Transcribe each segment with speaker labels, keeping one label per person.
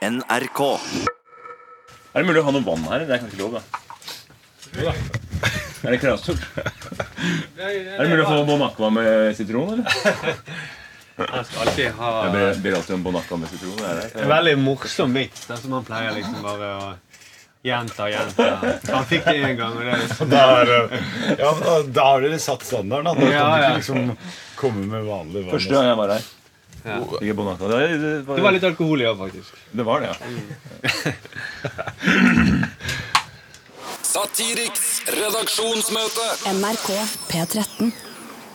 Speaker 1: NRK.
Speaker 2: Er det mulig å ha noe vann her? Det er kanskje lov, da. Er det kravstort? Er det mulig å få bon aqua med sitron, eller?
Speaker 3: Han skal alltid
Speaker 2: Jeg
Speaker 3: ha
Speaker 2: ber, ber alltid om bon aqua med sitron. Er det?
Speaker 3: en veldig morsom vits, den som han pleier liksom bare å gjenta og gjenta. Han fikk det én gang, og det er
Speaker 4: Da er, eh, ja, da- da har dere satt standarden. Da, da kan
Speaker 3: Ja,
Speaker 4: du
Speaker 3: ja.
Speaker 4: ikke liksom komme med vanlig vann.
Speaker 2: Første gang jeg var her.
Speaker 3: Ja.
Speaker 2: Ikke bon aqua. Det, det, var,
Speaker 3: Det var litt alkohol i år, faktisk.
Speaker 2: det var det, ja.
Speaker 5: Satiriks redaksjonsmøte.
Speaker 6: NRK P13.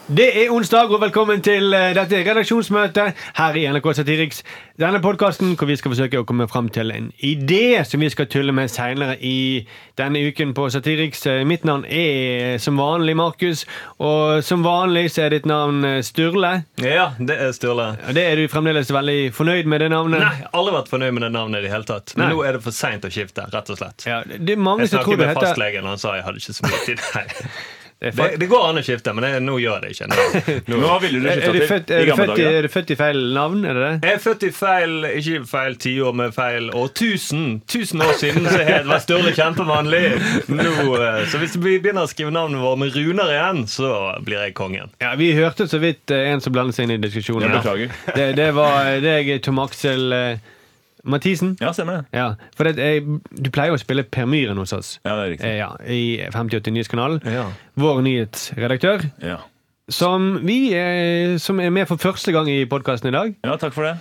Speaker 3: Det er onsdag, og velkommen til eh, dette redaksjonsmøtet her i NRK Satiriks. Denne podkasten hvor vi skal forsøke å komme fram til en idé som vi skal tulle med seinere i denne uken på Satiriks. Eh, Mitt navn er eh, som vanlig Markus, og som vanlig så er ditt navn eh, Sturle.
Speaker 7: Ja, det er Sturle.
Speaker 3: Og Det er du fremdeles veldig fornøyd med det navnet?
Speaker 7: Nei, aldri vært fornøyd med det navnet i det hele tatt. Men
Speaker 3: Nei.
Speaker 7: nå er det for seint å skifte, rett og slett.
Speaker 3: Ja, det det er mange
Speaker 7: Jeg
Speaker 3: som tror
Speaker 7: snakket
Speaker 3: det
Speaker 7: med
Speaker 3: heter
Speaker 7: fastlegen, og han sa jeg hadde ikke så mye tid. Nei.
Speaker 3: Det er
Speaker 7: Det,
Speaker 3: fakt-
Speaker 7: det går an å skifte, men det, nå gjør jeg det ikke. Nå.
Speaker 2: Nå ville du
Speaker 3: Er- er du
Speaker 2: skifta
Speaker 3: født-
Speaker 2: til.
Speaker 3: er
Speaker 2: I
Speaker 3: du
Speaker 2: gamle
Speaker 3: født i-
Speaker 2: dager.
Speaker 3: er du født i feil navn? Er det det?
Speaker 7: Jeg er født i feil ikke feil tiår, men feil år 1000. 1000 år siden så het var Sturle kjempevanlig. Nå, eh, så hvis vi begynner å skrive navnet vårt med runer igjen, så blir jeg kongen.
Speaker 3: Ja, Vi hørte så vidt eh, en som blandet seg inn i diskusjonen.
Speaker 2: Jeg
Speaker 3: Ja.
Speaker 2: beklager.
Speaker 3: Det, det var deg, Tom Aksel eh, Mathisen.
Speaker 2: Ja, stemmer det.
Speaker 3: Ja, for det, jeg, Du pleier jo å spille Per Myhren hos oss.
Speaker 2: Ja, det er riktig.
Speaker 3: Eh, Ja, I 5080 Nyhetskanalen.
Speaker 7: Ja.
Speaker 3: Vår nyhetsredaktør,
Speaker 2: Ja,
Speaker 3: som, vi, eh, som er med for første gang i podkasten i dag.
Speaker 2: ja takk for det.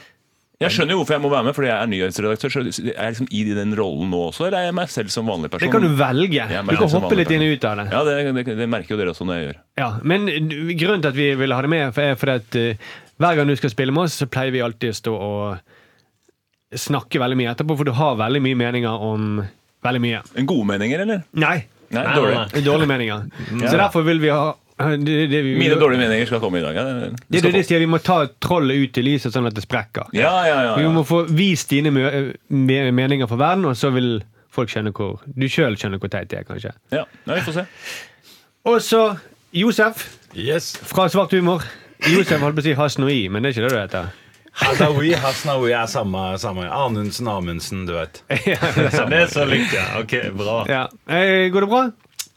Speaker 2: Jeg skjønner jo hvorfor jeg må være med, fordi jeg er nyhetsredaktør. Så er jeg liksom i den rollen nå også, eller er jeg meg selv som vanlig person?
Speaker 3: Det kan du velge.
Speaker 2: Ja, men jeg
Speaker 3: Du
Speaker 2: er
Speaker 3: kan
Speaker 2: som
Speaker 3: hoppe
Speaker 2: vanlig
Speaker 3: litt inn
Speaker 2: person.
Speaker 3: og ut av det.
Speaker 2: Ja, det, det, det merker jo dere også når jeg gjør.
Speaker 3: Ja, men du- grunnen til at vi ville ha det med, er fordi at eh, hver gang du skal spille med oss, så pleier vi alltid å stå og snakke veldig mye etterpå, for du har veldig mye meninger om veldig mye.
Speaker 2: Gode meninger, eller?
Speaker 3: Nei,
Speaker 2: Nei,
Speaker 7: Nei,
Speaker 2: dårlig. Mm.
Speaker 7: nei, nei.
Speaker 3: dårlige meninger. Så derfor vil vi ha det, det, vi,
Speaker 2: Mine dårlige meninger skal komme i dag. Ja, det, det
Speaker 3: det,
Speaker 2: skal
Speaker 3: det, det
Speaker 2: få-
Speaker 3: sier vi må ta trollet ut i lyset sånn at det sprekker.
Speaker 2: ja, ja, ja,
Speaker 3: Vi
Speaker 2: ja.
Speaker 3: må få vist dine mø- me- meninger for verden, og så vil folk skjønne hvor Du sjøl skjønner hvor teit det er, kanskje.
Speaker 2: ja. ja vi får se.
Speaker 3: Og så Josef
Speaker 4: Yes.
Speaker 3: fra Svart humor. Josef holdt på å si Hasnoi, men det er ikke det du heter.
Speaker 4: Hasnaoui, Hasnaoui er samme, samme. Anundsen, Amundsen, du vet.
Speaker 7: Så det er så likt, ja. Ok, bra.
Speaker 3: Ja. Eh, går det bra?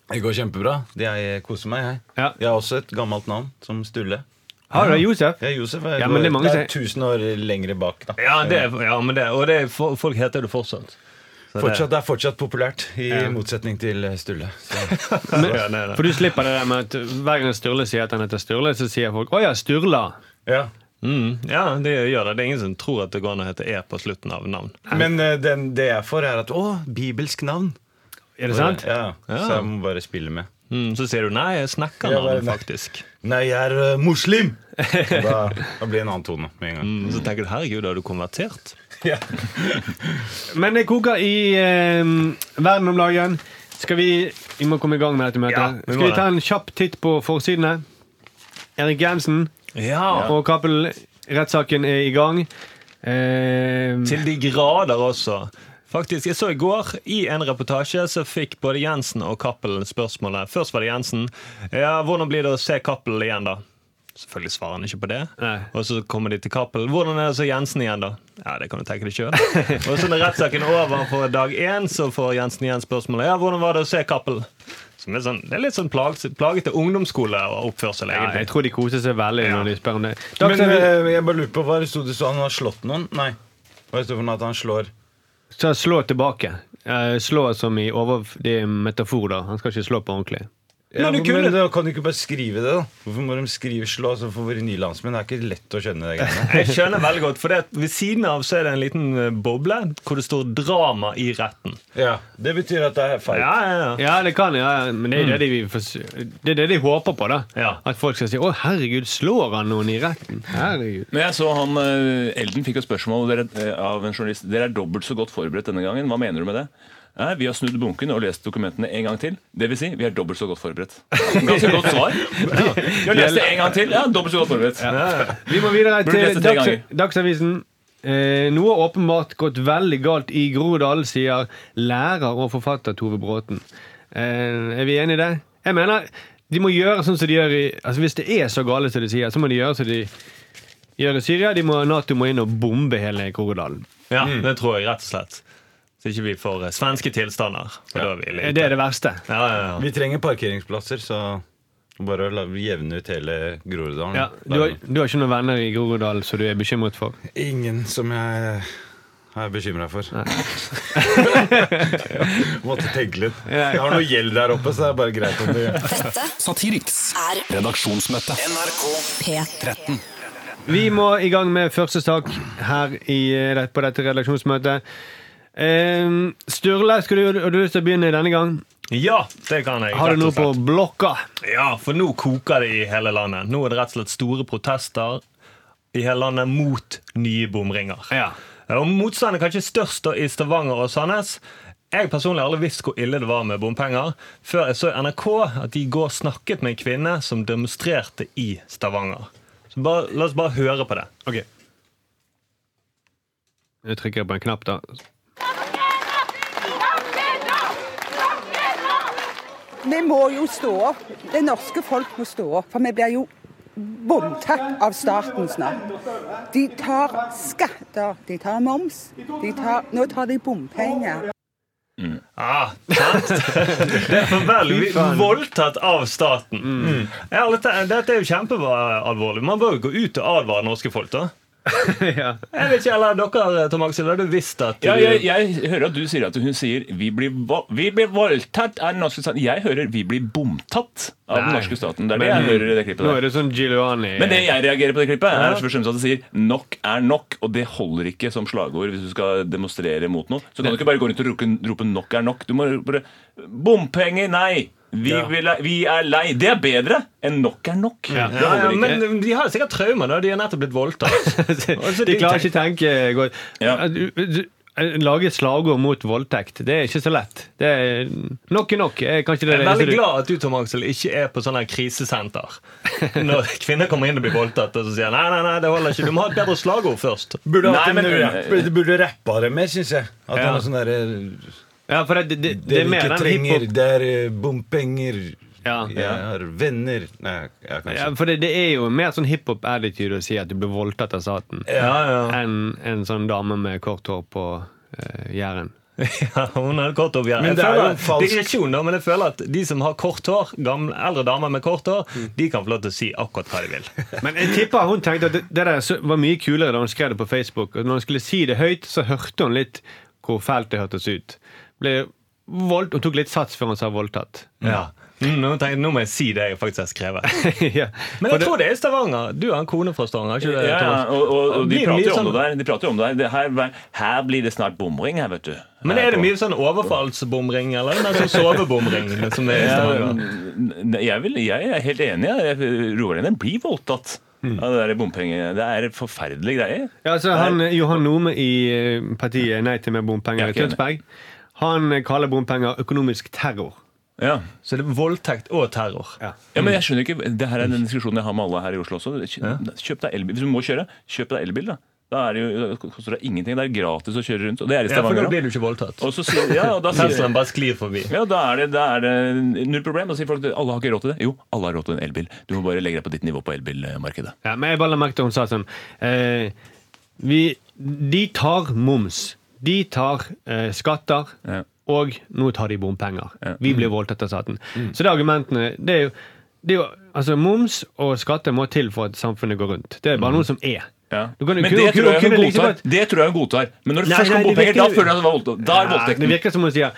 Speaker 4: Det går kjempebra. Jeg koser meg, jeg.
Speaker 3: Ja.
Speaker 4: Jeg har også et gammelt navn, som Sturle.
Speaker 3: Har du det, Josef?
Speaker 4: Jeg er Josef. Jeg
Speaker 3: Ja, men
Speaker 4: går-
Speaker 3: det er mange
Speaker 4: er tusen år lengre bak, da.
Speaker 7: Ja, det, er- ja men det, og det, er- fo- folk heter det fortsatt. Så
Speaker 4: Fortsatt, det er fortsatt populært, i motsetning til eh, Sturle. Så.
Speaker 7: Det, ja, det, er det.
Speaker 3: For du slipper det der med at hver gang Sturle sier at han heter Sturle, så sier folk 'Å ja, Sturla'.
Speaker 4: Ja.
Speaker 7: Mm, ja, det gjør det. Det er ingen som tror at det går an å hete E på slutten av navn.
Speaker 4: Men eh, den, det jeg får, er at Å, bibelsk navn!
Speaker 3: Er det sant?
Speaker 4: Ja,
Speaker 7: Ja.
Speaker 4: Så jeg må bare spille med.
Speaker 7: Mm, så sier du nei, jeg snakker
Speaker 4: Ja,
Speaker 7: navn,
Speaker 4: nei.
Speaker 7: faktisk.
Speaker 4: Nei, jeg er eh, muslim! Og Da, da blir det en annen tone med en gang.
Speaker 7: Mm, så tenker du herregud, har du konvertert?
Speaker 4: Ja.
Speaker 3: Men det koker i eh, verden om dagen. Skal vi Vi må komme i gang med dette møtet.
Speaker 7: Ja, vi må
Speaker 3: Skal vi ta
Speaker 7: det.
Speaker 3: en kjapp titt på forsidene? Erik Jensen
Speaker 7: Ja.
Speaker 3: og Cappelen-rettssaken er i gang. Eh,
Speaker 7: Til de grader også. Faktisk, jeg så i går i en reportasje så fikk både Jensen og Cappelen spørsmålet. Først var det Jensen. Ja, hvordan blir det å se Cappelen igjen, da? Selvfølgelig svarer han ikke på det.
Speaker 3: Nei.
Speaker 7: Og så kommer de til Cappelen. Hvordan er det så Jensen igjen, da? Ja, det kan du tenke deg sjøl. og så når rettssaken er over på dag én, så får Jensen igjen spørsmålet. Ja, hvordan var det å se Cappelen? Som er sånn, det er litt sånn plag, plagete ungdomsskoleoppførsel,
Speaker 3: ja, jeg
Speaker 7: egentlig.
Speaker 3: tror de koser seg veldig når de spør om det.
Speaker 4: Men
Speaker 3: Dagsrevyen
Speaker 4: eh, jeg bare lurer på, hva er det stod det stod? Han har slått noen? Nei. Hva er det stod for noe at han slår?
Speaker 3: skal slå tilbake. Eh, slå som i over... Det er en metafor, da. Han skal ikke slå på ordentlig.
Speaker 4: Ja,
Speaker 7: Men
Speaker 4: men,
Speaker 7: du kunne-
Speaker 4: da kan du ikke bare skrive det, da? Hvorfor må de skrive 'slå' altså for våre nye landsmenn? Det er ikke lett å skjønne det. greiene.
Speaker 7: Jeg skjønner veldig godt, for det at ved siden av så er det en liten eh, boble hvor det står 'drama i retten'.
Speaker 4: Ja, Det betyr at det er feil.
Speaker 7: Ja, ja, ja.
Speaker 3: Ja, det kan ja, ja, men det er det,
Speaker 2: Mm.
Speaker 3: de, vil forsø- det er det de håper på, da.
Speaker 7: Ja.
Speaker 3: At folk skal si 'Å, herregud, slår han noen i retten?' Herregud.
Speaker 2: Men jeg så han, eh, Elden fikk jo spørsmål dere, eh, av en journalist. Dere er dobbelt så godt forberedt denne gangen. Hva mener du med det? Nei, vi har snudd bunken og lest dokumentene en gang til. Det vil si, vi er dobbelt så godt forberedt. Ganske godt svar. Ja. Vi har lest det en gang til. Ja, dobbelt så godt forberedt.
Speaker 3: Vi må videre
Speaker 2: Burde lese tre
Speaker 3: til dags,
Speaker 2: ganger.
Speaker 3: Dagsavisen. Eh, noe har åpenbart gått veldig galt i Groruddalen, sier lærer og forfatter Tove Bråten. Eh, er vi enige i det? Jeg mener, de må gjøre sånn som de gjør i Altså Hvis det er så gale som de sier, så må de gjøre som de gjør det Syria. De må, Nato må inn og bombe hele Groruddalen.
Speaker 7: Ja,
Speaker 3: Mm.
Speaker 7: Det tror jeg rett og slett. Så ikke vi får eh, svenske tilstander. For da er vi
Speaker 3: Det
Speaker 7: litt.
Speaker 3: er det verste.
Speaker 7: Ja, ja, ja.
Speaker 4: Vi trenger parkeringsplasser, så bare la, jevne ut hele Groruddalen.
Speaker 3: Ja, du, har, du har ikke noen venner i Groruddalen som du er bekymret for?
Speaker 4: Ingen som jeg er bekymra for. Måtte tenke litt. Jeg har noe gjeld der oppe, så det er bare greit om det
Speaker 6: Dette
Speaker 5: Satiriks
Speaker 6: er
Speaker 5: redaksjonsmøte. NRK
Speaker 6: P13.
Speaker 3: Vi må i gang med første sak her i, eh, på dette redaksjonsmøtet. Ehm, Sturle, skal du, har du lyst til å begynne denne gang?
Speaker 7: ja, det kan jeg.
Speaker 3: Har du
Speaker 7: rett
Speaker 3: noe
Speaker 7: og
Speaker 3: på
Speaker 7: slett.
Speaker 3: blokka?
Speaker 7: Ja, for nå koker det i hele landet. Nå er det rett og slett store protester i hele landet mot nye bomringer.
Speaker 3: Ja.
Speaker 7: Og Motstanden er kanskje størst da i Stavanger og Sandnes. Jeg personlig har aldri visst hvor ille det var med bompenger, før jeg så i NRK at de i går snakket med en kvinne som demonstrerte i Stavanger. Så bare, la oss bare høre på det.
Speaker 3: Ok. Nå trykker jeg på en knapp, da.
Speaker 1: Vi må jo stå opp. Det norske folk må stå opp. For vi blir jo voldtatt av staten snart. De tar skatter, de tar moms, de tar, nå tar de bompenger.
Speaker 7: Ah, sant? det er forferdelig. Vi er voldtatt av staten. Mm. Ja, dette, dette er jo kjempealvorlig. Man bør jo gå ut og advare norske folk, da.
Speaker 3: ja.
Speaker 7: Jeg vet ikke, eller dere, Tom Aksel, har du visst at du,
Speaker 2: Ja, jeg, jeg hører at du sier at hun sier 'vi blir, vo- vi blir voldtatt' av den norske staten. Jeg hører 'vi blir bomtatt' av den
Speaker 7: Nei.
Speaker 2: norske staten. Det er det jeg hører i det klippet
Speaker 3: Nå
Speaker 2: der.
Speaker 3: er det sånn Giuliani
Speaker 2: Men det jeg reagerer på det klippet, er først og fremst at det sier 'nok er nok', og det holder ikke som slagord hvis du skal demonstrere mot noe. Så kan du ikke bare gå rundt og rope, rope 'nok er nok'. Du må bare 'Bompenger, nei! Vi, vil, vi er lei'. Det er bedre enn 'nok er nok'. Det
Speaker 7: ja,
Speaker 2: holder
Speaker 7: ja,
Speaker 2: ikke.
Speaker 7: Men de har sikkert traumer, da. De har nettopp blitt voldtatt. Altså,
Speaker 3: De klarer ikke å tenke godt.
Speaker 2: Ja.
Speaker 3: At du- du- Lage slagord mot voldtekt, det er ikke så lett. Det er nok er nok. er kanskje det
Speaker 7: Jeg er
Speaker 3: eneste
Speaker 7: veldig
Speaker 3: du-
Speaker 7: glad at du Tom Aksel, ikke er på sånn her krisesenter. Når kvinner kommer inn og blir voldtatt, og så sier jeg, nei, nei, nei, det holder ikke. Du må ha et bedre slagord først.
Speaker 4: Burde
Speaker 2: Nei,
Speaker 4: hatt en
Speaker 2: men-
Speaker 4: rap- burde- burde rappa det mer, syns jeg. At
Speaker 7: Ja.
Speaker 4: han er sånn derre
Speaker 3: Ja, for det, det, det,
Speaker 4: Det
Speaker 3: er
Speaker 4: vi
Speaker 3: mer
Speaker 4: ikke
Speaker 3: den
Speaker 4: trenger,
Speaker 3: hiphop...
Speaker 4: det er eh, bompenger.
Speaker 3: Ja.
Speaker 4: Jeg har venner Nei, ja,
Speaker 3: Ja,
Speaker 4: kanskje.
Speaker 3: for det, det er jo mer sånn hiphop-attitude å si at du blir voldtatt av staten,
Speaker 7: Ja, ja.
Speaker 3: enn en sånn dame med kort hår på eh, Jæren.
Speaker 7: ja hun hadde kort hår. Ja.
Speaker 4: Men
Speaker 7: Jeg
Speaker 4: det er
Speaker 7: føler-
Speaker 4: jo falsk-
Speaker 7: digresjon da, men jeg føler at de som har kort hår, gamle, eldre damer med kort hår, de kan få lov til å si akkurat hva de vil.
Speaker 3: Men jeg tipper hun tenkte at det, det der så- var mye kulere da hun skrev det på Facebook. Og når hun skulle si det høyt, så hørte hun litt hvor fælt det hørtes ut. Ble voldt, hun tok litt sats før hun sa voldtatt.
Speaker 7: Ja. Mm, nå, tenker, jeg, nå må jeg si det jeg faktisk har skrevet.
Speaker 3: ja.
Speaker 7: Men jeg tror det er i Stavanger. Du har en kone fra Stavanger, har ikke
Speaker 2: Ja,
Speaker 7: du det?
Speaker 2: ja,
Speaker 7: Thomas?
Speaker 2: og, og, og de
Speaker 7: Blir
Speaker 2: prater
Speaker 7: mye
Speaker 2: jo om
Speaker 7: sånn-
Speaker 2: det der. De prater jo om det der. Det her, her blir det snart bomring her, vet du.
Speaker 7: Men
Speaker 2: Her
Speaker 7: er det
Speaker 2: på-
Speaker 7: mye sånn overfallsbomring, eller er det mer sånn sovebomring? Som er i
Speaker 2: Ja,
Speaker 7: Stavanger?
Speaker 2: ne- jeg, vil, jeg er helt enig. jeg. Roar Lene blir voldtatt
Speaker 7: Mm.
Speaker 2: av det der bompenge... Det er forferdelige greier.
Speaker 3: Ja, altså han, eh, Johan Nome i eh, partiet Nei til mer
Speaker 2: Jeg
Speaker 3: bompenger
Speaker 2: er
Speaker 3: i
Speaker 2: ikke enig.
Speaker 3: Tønsberg, han eh, kaller bompenger økonomisk terror.
Speaker 2: Ja.
Speaker 7: Så det er voldtekt og terror.
Speaker 2: ja, men jeg skjønner ikke Det her er den diskusjonen jeg har med alle her i Oslo også. Kjøp kjøp deg elbil. Hvis du må kjøre, kjøp deg elbil, da. Da er det jo, da koster det ingenting. Det er gratis å kjøre rundt. Og det er i
Speaker 7: Ja, for da
Speaker 2: Stavanger
Speaker 7: blir
Speaker 2: òg.
Speaker 7: du ikke voldtatt.
Speaker 2: Og så sier, ja, og da sier,
Speaker 7: Teslaen bare sklir forbi.
Speaker 2: Ja, da er, det, da er det null problem. Da sier folk at alle har ikke råd til det. Jo, alle har råd til en elbil. Du må bare legge deg på ditt nivå på elbilmarkedet.
Speaker 3: Ja, men jeg bare la merke til hun sa sånn eh, vi, De tar moms. De tar eh, skatter.
Speaker 2: Ja.
Speaker 3: Og nå tar de bompenger.
Speaker 2: Ja. Mm.
Speaker 3: Vi blir voldtatt av staten. Så det er argumentene det er jo, det er jo, altså Moms og skatter må til for at samfunnet går rundt. Det er bare noe som er.
Speaker 2: Mm. Ja.
Speaker 3: Du kan jo
Speaker 2: Men
Speaker 3: kunne-
Speaker 2: det tror,
Speaker 3: kunne-
Speaker 2: jeg hun
Speaker 3: kunne liksom like
Speaker 2: godtar.
Speaker 3: godt-
Speaker 2: det tror jeg hun godtar. Men når det
Speaker 3: Nei,
Speaker 2: først
Speaker 3: nei,
Speaker 2: kommer
Speaker 3: det
Speaker 2: bompenger,
Speaker 3: virker-
Speaker 2: da føler jeg at det var voldtekt. Da er det
Speaker 3: Ja, Det
Speaker 2: voldtekten. Mm.
Speaker 3: virker som hun sier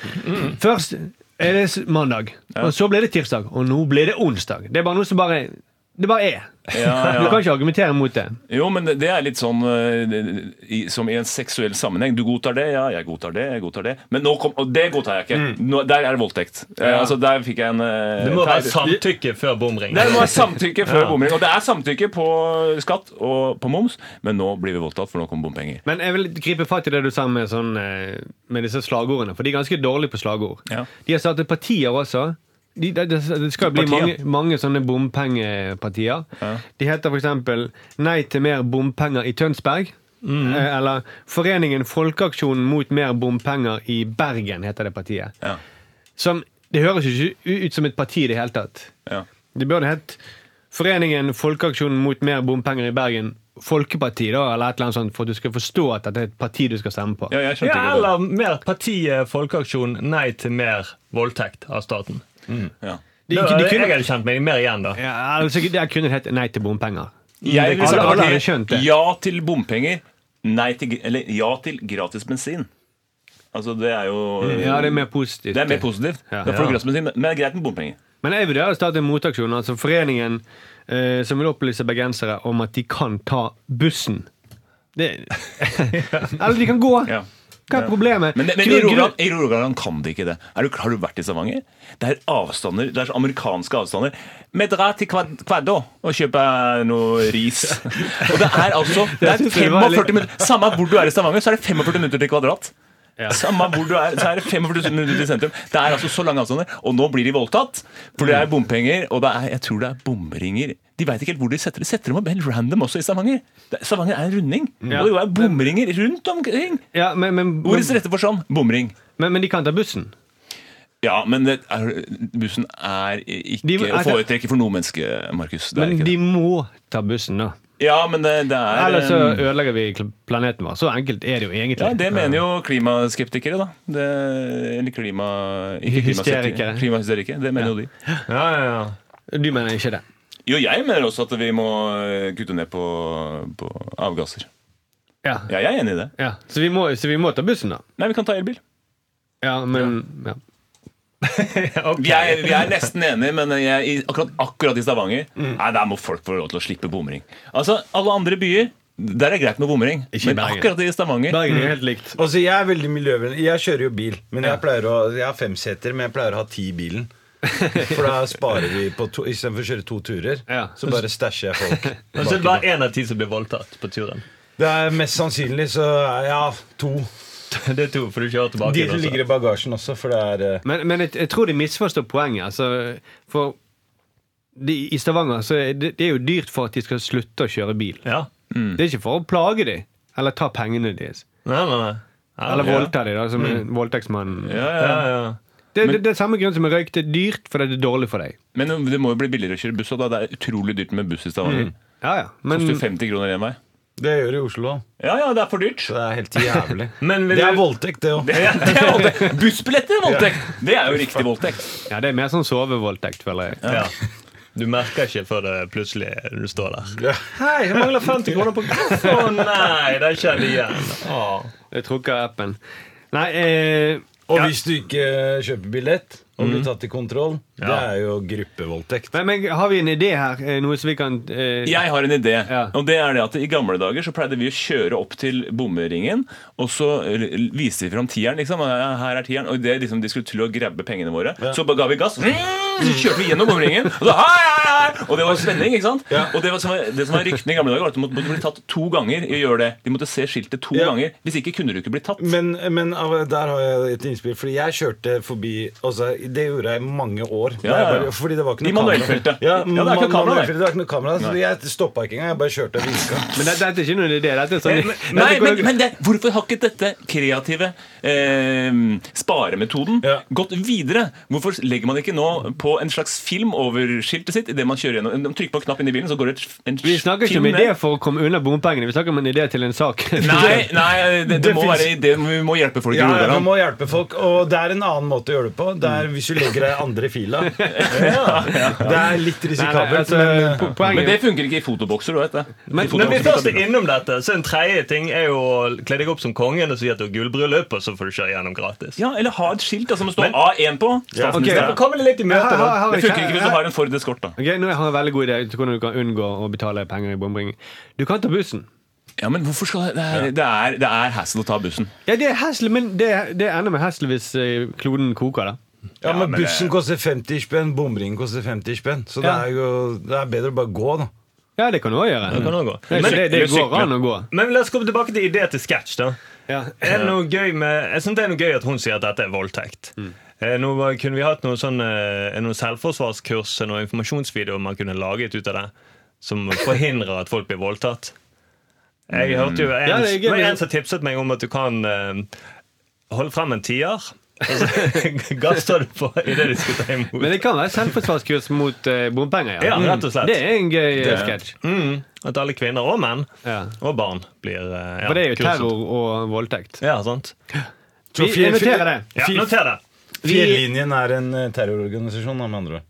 Speaker 3: Først er det s- mandag, og så ble det tirsdag, og nå ble det onsdag. Det er bare noe som bare Det bare er.
Speaker 2: Ja, ja.
Speaker 3: Du kan ikke argumentere mot det.
Speaker 2: Jo, men det- det er litt sånn eh, i- som i en seksuell sammenheng. Du godtar det, ja, jeg godtar det, jeg godtar det. Men nå kom, og det godtar jeg ikke.
Speaker 3: Mm.
Speaker 2: Nå, der er det voldtekt. Eh, Altså, der fikk jeg en eh,
Speaker 7: Det må
Speaker 2: feil.
Speaker 7: være samtykke før bomring.
Speaker 2: Det må være samtykke før bomring. Og det er samtykke på skatt og på moms, men nå blir vi voldtatt, for nå kommer bompenger.
Speaker 3: Men jeg vil gripe fatt i det du sa med, sånn, eh, med disse slagordene. For de er ganske dårlige på slagord.
Speaker 2: Ja.
Speaker 3: De har startet partier også. De, det, det det skal jo bli mange,
Speaker 2: Partier.
Speaker 3: mange sånne bompengepartier.
Speaker 2: Ja.
Speaker 3: De heter f.eks. Nei til mer bompenger i Tønsberg.
Speaker 2: Mhm.
Speaker 3: Eh, Eller Foreningen Folkeaksjonen mot mer bompenger i Bergen, heter det partiet. Sånn,
Speaker 2: Ja.
Speaker 3: Som, det høres jo ikke ut som et parti i det hele tatt.
Speaker 2: Ja.
Speaker 3: Det burde hett Foreningen Folkeaksjonen mot mer bompenger i Bergen Folkeparti, da, eller et eller annet sånt, for at du skal forstå at dette er et parti du skal stemme på.
Speaker 2: Ja, jeg skjønte
Speaker 7: Ja,
Speaker 2: ikke det.
Speaker 7: eller mer partiet Folkeaksjon nei til mer voldtekt av staten.
Speaker 2: Ja.
Speaker 3: De-
Speaker 7: Da,
Speaker 3: de kunne-
Speaker 7: jeg hadde kjent meg mer igjen da.
Speaker 3: Ja, altså, det kunne hett Nei til bompenger.
Speaker 2: Jeg vil
Speaker 3: Alle-
Speaker 2: sagt
Speaker 3: alle
Speaker 2: at
Speaker 3: hadde skjønt det.
Speaker 2: Ja til bompenger, nei til, gr- eller ja til gratis bensin. Altså, det er jo
Speaker 3: Ja, det er mer positivt.
Speaker 2: Det er mer positivt.
Speaker 3: Ja.
Speaker 2: Da får du gratis bensin, men det er greit med bompenger.
Speaker 3: Men jeg vurderer å starte en motaksjon, altså foreningen eh, som vil opplyse bergensere om at de kan ta bussen. Det, eller de kan gå.
Speaker 2: Ja.
Speaker 3: Hva er problemet?
Speaker 2: Men, det- men i
Speaker 3: Grunn-
Speaker 2: Rogaland- i Rogaland kan de ikke det. Er du, har du vært i Stavanger? Det er avstander, det er så amerikanske avstander. Vi drar til Kvad- Kvaddo og kjøper noe ris. Og det er altså det er
Speaker 3: synes jeg var
Speaker 2: 45
Speaker 3: litt-
Speaker 2: minutter Samme hvor du er i Stavanger, så er det 45 minutter til Kvadrat.
Speaker 3: Ja.
Speaker 2: Samme hvor du er, så er det 45 minutter til sentrum. Det er altså så lange avstander. Og nå blir de voldtatt, for det
Speaker 3: Mm.
Speaker 2: er bompenger, og det er, jeg tror det er bomringer. De veit ikke helt hvor de setter det. Setter dem opp helt random også i Stavanger. Det- Stavanger er en runding,
Speaker 3: Ja.
Speaker 2: og det er bomringer rundt omkring.
Speaker 3: ja, men, men,
Speaker 2: Ordets
Speaker 3: men,
Speaker 2: rette for sånn bomring.
Speaker 3: men, men de kan ta bussen.
Speaker 2: Ja, men det er, bussen er ikke
Speaker 3: De-
Speaker 2: å foretrekke for noe menneske, Markus. Det er
Speaker 3: Men
Speaker 2: ikke
Speaker 3: de
Speaker 2: det.
Speaker 3: må ta bussen, da.
Speaker 2: Ja, men det, det er
Speaker 3: Ellers så
Speaker 2: eh,
Speaker 3: ødelegger vi kl- planeten vår. Så enkelt er det jo egentlig.
Speaker 2: ja, Det mener jo klimaskeptikere, da. Det, eller klima... Ikke
Speaker 3: Hysterikere.
Speaker 2: klimaskeptikere. Klimahysterikere. Det mener jo de.
Speaker 7: Ja, ja, ja.
Speaker 3: Du mener ikke det.
Speaker 2: Jo, jeg mener også at vi må eh, kutte ned på, på avgasser.
Speaker 3: Ja.
Speaker 2: Ja, jeg er enig i det.
Speaker 3: Ja. Så, vi må, så vi må ta bussen, da.
Speaker 2: Nei, vi kan ta elbil.
Speaker 3: Ja, men ja.
Speaker 2: Vi er, vi er nesten enige, men jeg, i, akkurat, akkurat i Stavanger
Speaker 3: Mm.
Speaker 2: Nei, der må folk få lov til å slippe bomring. Altså, alle andre byer, der er det greit med bomring.
Speaker 3: Ikke i
Speaker 2: Men
Speaker 3: Bergen.
Speaker 2: akkurat i Stavanger
Speaker 3: Bergen er helt likt.
Speaker 4: Altså, jeg er veldig miljøvennlig. Jeg kjører jo bil. Men jeg pleier å Jeg har fem seter, men jeg pleier å ha ti i bilen. For da sparer vi på to Istedenfor å kjøre to turer,
Speaker 3: Ja.
Speaker 4: så bare stæsjer jeg folk.
Speaker 7: Og så er det bare én av ti som blir voldtatt på turen.
Speaker 4: Det er mest sannsynlig så er Ja, to.
Speaker 7: Det er to, for du kjører tilbake.
Speaker 4: De
Speaker 7: igjen
Speaker 4: som
Speaker 7: også.
Speaker 4: ligger i bagasjen også, for det er eh,
Speaker 3: Men, men jeg, jeg tror de misforstår poenget. Altså, for de, I Stavanger så er det, det er jo dyrt for at de skal slutte å kjøre bil.
Speaker 7: Ja.
Speaker 2: Mm.
Speaker 3: Det er ikke for å plage dem eller ta pengene deres.
Speaker 7: Nei, nei, nei. Ja,
Speaker 3: Eller
Speaker 7: ja.
Speaker 3: voldta dem, da, som en voldtektsmann.
Speaker 2: Mm. Ja, ja.
Speaker 7: Ja, ja.
Speaker 3: Det, det, det er samme grunn som med røyk. Det er dyrt fordi det er dårlig for deg.
Speaker 2: Men det må jo bli billigere å kjøre buss. Og da. Det er utrolig dyrt med buss i Stavanger.
Speaker 3: Ja, ja. Men,
Speaker 2: Koster 50 kroner én vei.
Speaker 4: Det gjør det i Oslo.
Speaker 2: Ja, ja, det er for dyrt.
Speaker 4: Så det er helt jævlig.
Speaker 7: Men vil
Speaker 4: det er
Speaker 7: du-
Speaker 4: voldtekt, det òg.
Speaker 2: Ja, det er voldtekt. Bussbilletter er voldtekt! Det er jo riktig voldtekt.
Speaker 3: ja, det er mer sånn sovevoldtekt, føler jeg.
Speaker 7: Ja. Du merker ikke før det plutselig du står der.
Speaker 4: Ja.
Speaker 7: Hei, jeg mangler 50 kroner på kaffe! Å nei, det skjedde igjen. Å.
Speaker 3: Jeg trukker appen. Nei, eh,
Speaker 4: Og
Speaker 3: ja.
Speaker 4: hvis du ikke kjøper billett og
Speaker 2: Mm.
Speaker 4: blir tatt i kontroll, det
Speaker 7: Ja.
Speaker 4: er jo gruppevoldtekt.
Speaker 3: men, men har vi en idé her? Eh, Noe som vi kan eh,
Speaker 2: Jeg har en idé.
Speaker 3: Ja.
Speaker 2: Og det er det at I gamle dager så pleide vi å kjøre opp til bommeringen, og så l- viste vi fram tieren. liksom, Ja, her er tieren, Og det liksom de skulle til å grabbe pengene våre. Så bare ga vi gass, mm, så kjørte vi gjennom bommeringen. Og så hei, hei, hei, og det var spenning. ikke sant? Og det, var, som var- det som var ryktene i gamle dager, var at du måtte, måtte bli tatt to ganger i å gjøre det. De måtte se skiltet to
Speaker 4: Ja.
Speaker 2: ganger. Hvis ikke kunne du ikke bli tatt.
Speaker 4: Men, men av- der har jeg et innspill, fordi jeg kjørte forbi altså, Det gjorde jeg i mange år.
Speaker 2: Ja,
Speaker 4: Jeg
Speaker 2: ja, ja.
Speaker 4: bare- Fordi det var
Speaker 2: I
Speaker 4: ikke noe kamera.
Speaker 2: manuellfeltet.
Speaker 4: Ja,
Speaker 2: Ja, det er ikke
Speaker 4: man-
Speaker 2: kamera der.
Speaker 4: manuellfeltet, det var ikke noe kamera så jeg stoppa ikke engang. Jeg bare kjørte og vinka.
Speaker 3: Men det, dette er ikke noen idé. Dette er sånn,
Speaker 2: Nei,
Speaker 3: dette går-
Speaker 2: Eh, men, men det, Hvorfor har ikke dette kreative eh, sparemetoden
Speaker 4: Ja.
Speaker 2: gått videre? Hvorfor legger man ikke nå på en slags film over skiltet sitt? I det man kjører gjennom De trykker på en knapp inn i bilen, så går det et, en
Speaker 3: Vi snakker ikke om
Speaker 2: film ned.
Speaker 3: idé for å komme unna bompengene. Vi snakker om en idé til en sak.
Speaker 2: Nei, nei det, det
Speaker 4: Det
Speaker 2: må
Speaker 4: finnes-
Speaker 2: være idé. Vi må hjelpe folk i
Speaker 4: Ja, vi
Speaker 2: Rogaland.
Speaker 4: må hjelpe folk, og det er en annen måte å gjøre det på. Det er hvis du legger deg i andre fila. Det er litt
Speaker 3: Nei, nei,
Speaker 4: risikabelt.
Speaker 3: altså,
Speaker 4: men,
Speaker 3: po-
Speaker 2: Men det
Speaker 3: poenget
Speaker 2: funker ikke i fotobokser. du vet det. I
Speaker 3: Men-
Speaker 7: Når vi
Speaker 2: fotobokser-
Speaker 7: først er innom dette, så en tredje ting er jo å kle deg opp som kongen og si at du har gullbryllup, og så får du kjøre gjennom gratis.
Speaker 2: ja, Eller ha et skilt da, som det står A1 på. Statsminister.
Speaker 7: Derfor kommer det litt i møte,
Speaker 3: Her- her-
Speaker 7: da.
Speaker 3: her-
Speaker 2: Det funker ikke hvis du har en Ford Escort. da
Speaker 3: Ok, nå har jeg en veldig god idé til hvordan du kan unngå å betale penger i bomringen. Du kan ta bussen.
Speaker 2: Ja, men hvorfor skal Det er, det er, det er hassle å ta bussen.
Speaker 3: Ja, det er hesle, men det, det ender med hesle hvis eh, kloden koker, da.
Speaker 4: ja, men bussen koster 50 spenn, bomringen koster 50 spenn. Så det
Speaker 3: Ja.
Speaker 4: er jo det er bedre å bare gå, da.
Speaker 3: Ja, det kan du òg gjøre.
Speaker 7: Det kan også gå.
Speaker 3: Nei, så
Speaker 7: Men-
Speaker 3: det, det
Speaker 2: eller
Speaker 3: går
Speaker 2: sykle.
Speaker 3: an å gå.
Speaker 7: Men la oss komme tilbake til idé til sketsj, da.
Speaker 3: Ja.
Speaker 7: Er det noe gøy med, jeg synes det er noe gøy at hun sier at dette er voldtekt.
Speaker 3: Mm.
Speaker 7: Eh, Nå var- kunne vi hatt noe sånn, eh, noe selvforsvarskurs eh, noen informasjonsvideoer man kunne laget ut av det, som forhindrer at folk blir voldtatt. Jeg hørte jo
Speaker 3: Mm.
Speaker 7: en,
Speaker 3: Ja, det er gøy,
Speaker 7: det var
Speaker 3: men-
Speaker 7: en som tipset meg om at du kan eh, holde frem en tier, Altså, gass tar du på idet de skal ta imot.
Speaker 3: Men det kan være selvforsvarskurs mot eh, bompenger.
Speaker 7: Ja, rett og slett.
Speaker 3: Det er en gøy eh,
Speaker 2: Det-
Speaker 3: sketsj.
Speaker 7: Mm, at alle kvinner og menn
Speaker 3: Ja.
Speaker 7: og barn blir eh, ja,
Speaker 3: For det er jo
Speaker 7: kurset.
Speaker 3: terror og voldtekt.
Speaker 7: Ja, sant.
Speaker 4: Så
Speaker 3: Vi
Speaker 4: fjell-
Speaker 3: noterer det.
Speaker 7: Ja, noter det.
Speaker 4: Fjellinjen er en eh, terrororganisasjon, da, med andre ord.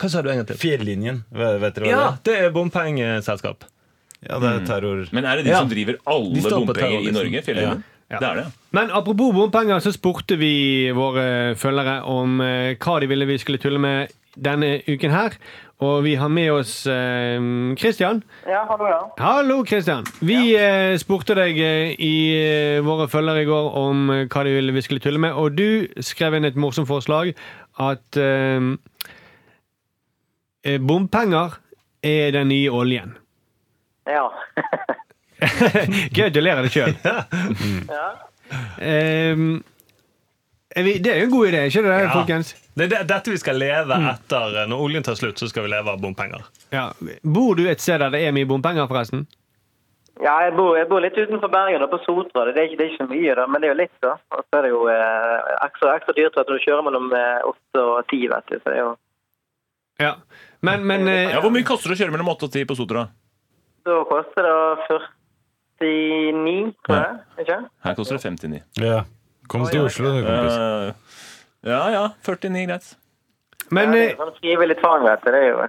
Speaker 7: Hva sa du en gang til?
Speaker 4: Fjellinjen, ve- vet dere hva
Speaker 7: Ja, det er bompengeselskap.
Speaker 4: det er? Ja, det er terror.
Speaker 2: Men er det de
Speaker 7: Ja.
Speaker 2: som driver
Speaker 7: De
Speaker 2: alle
Speaker 7: står på
Speaker 2: bompenger i
Speaker 7: terrorlisten.
Speaker 2: Norge? Fjellene?
Speaker 3: Ja.
Speaker 2: Det er det.
Speaker 3: Men apropos bompenger, så spurte vi våre følgere om eh, hva de ville vi skulle tulle med denne uken her. Og vi har med oss eh, Christian.
Speaker 8: Ja, hallo, ja.
Speaker 3: Hallo, Christian. Vi eh, spurte deg eh, i eh, våre følgere i går om eh, hva de ville vi skulle tulle med, og du skrev inn et morsomt forslag at eh, eh, bompenger er den nye oljen.
Speaker 8: Ja.
Speaker 3: Gratulerer deg sjøl.
Speaker 8: ja.
Speaker 3: det Mm. Ehm, er jo en god idé, ikke det,
Speaker 7: Ja.
Speaker 3: folkens? Mm.
Speaker 7: Det er det, dette vi skal leve etter. eh, Når oljen tar slutt, så skal vi leve av bompenger.
Speaker 3: Ja. Bor du et sted der det er mye bompenger, forresten?
Speaker 8: ja jeg, bor, jeg bor litt utenfor Bergen, da, på Sotra. Det er ikke, det er ikke så mye, da, men det er jo litt. da. Og så er det jo eh, ekstra, ekstra dyrt at du kjører mellom eh, åtte og ti, vet du. Så det er jo
Speaker 3: Ja. Men, men eh,
Speaker 2: Ja, Hvor mye koster det å kjøre mellom 8 og 10 på Sotra?
Speaker 8: Da koster det 49, tror jeg. Ikke?
Speaker 2: Her koster det 59.
Speaker 4: Ja. Kom til Oslo, du, kompis.
Speaker 2: Eh, ja ja, 49 greit.
Speaker 8: Ja,
Speaker 3: men
Speaker 8: det er
Speaker 3: eh,
Speaker 8: jo sånn frivillig tvang, vet du. Det er jo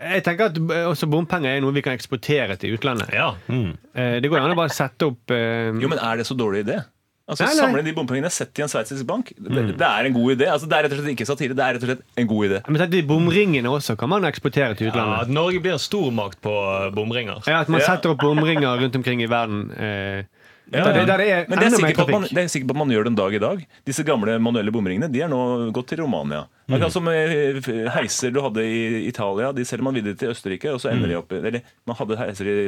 Speaker 3: jeg tenker at eh, også bompenger er noe vi kan eksportere til utlandet.
Speaker 7: Ja,
Speaker 3: Eh, Det går an å bare sette opp eh,
Speaker 2: Jo, men er det så dårlig idé? Altså,
Speaker 3: Nei, nei.
Speaker 2: Samle inn de bompengene, sett i en sveitsisk bank. Det,
Speaker 7: Mm.
Speaker 2: det er en god idé. Altså, det er rett og slett ikke satire, det er rett og slett en god idé.
Speaker 3: Men tenk, de bomringene også kan man eksportere til
Speaker 7: ja
Speaker 3: utlandet.
Speaker 7: At Norge blir en stormakt på eh, bomringer.
Speaker 3: Ja, at man
Speaker 2: Ja.
Speaker 3: setter opp bomringer rundt omkring i verden. eh,
Speaker 2: Ja,
Speaker 3: der, det-
Speaker 2: ja.
Speaker 3: der det er
Speaker 2: Men det er
Speaker 3: enda mer
Speaker 2: sikkert på at man,
Speaker 3: trafikk.
Speaker 2: det er sikkert på at man gjør den dag i dag. Disse gamle manuelle bomringene de er nå gått til Romania.
Speaker 3: Mm.
Speaker 2: Akkurat som eh, f- heiser du hadde i Italia, de selger man videre til Østerrike. og så
Speaker 3: Mm.
Speaker 2: ender de opp, i- eller Man hadde heiser i,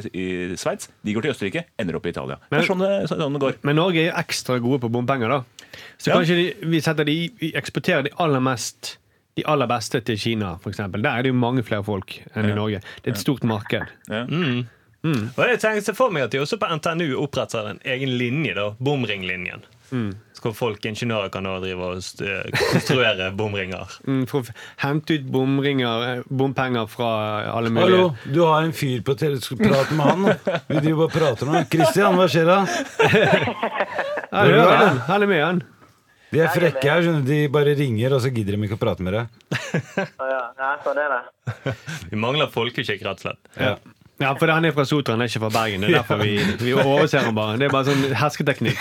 Speaker 2: i Sveits, de går til Østerrike, ender opp i Italia. Det
Speaker 3: Men-
Speaker 2: er sånn det, sånn det går.
Speaker 3: Men Norge er jo ekstra gode på bompenger, da. Så
Speaker 2: Ja.
Speaker 3: kanskje de, vi setter de, vi eksporterer de aller mest de aller beste til Kina, f.eks. Der er det jo mange flere folk enn i Norge. Det er et stort marked.
Speaker 2: Ja.
Speaker 7: Og jeg tenker seg for meg at de også på NTNU oppretter en egen linje, da, bomringlinjen.
Speaker 3: Mm.
Speaker 7: Så hvor folk, ingeniører, kan da drive og st- eh, konstruere bomringer.
Speaker 3: Mm, For å hente ut bomringer, eh, bompenger fra alle mulige
Speaker 4: Hallo, du har en fyr på tele... Skal prate med han. da. Vi driver bare og prater nå. Kristian, hva skjer da?
Speaker 3: Ja, det gjør det. Alle med han.
Speaker 4: De er frekke her, skjønner du. De bare ringer, og så gidder de ikke å prate med deg.
Speaker 8: Å, ja. ja, sånn er det.
Speaker 7: Vi mangler folkeskikk, rett og slett.
Speaker 3: Ja. ja, for han er fra Sotra, han er ikke fra Bergen. Det er derfor vi, vi overser han bare. Det er bare sånn hersketeknikk.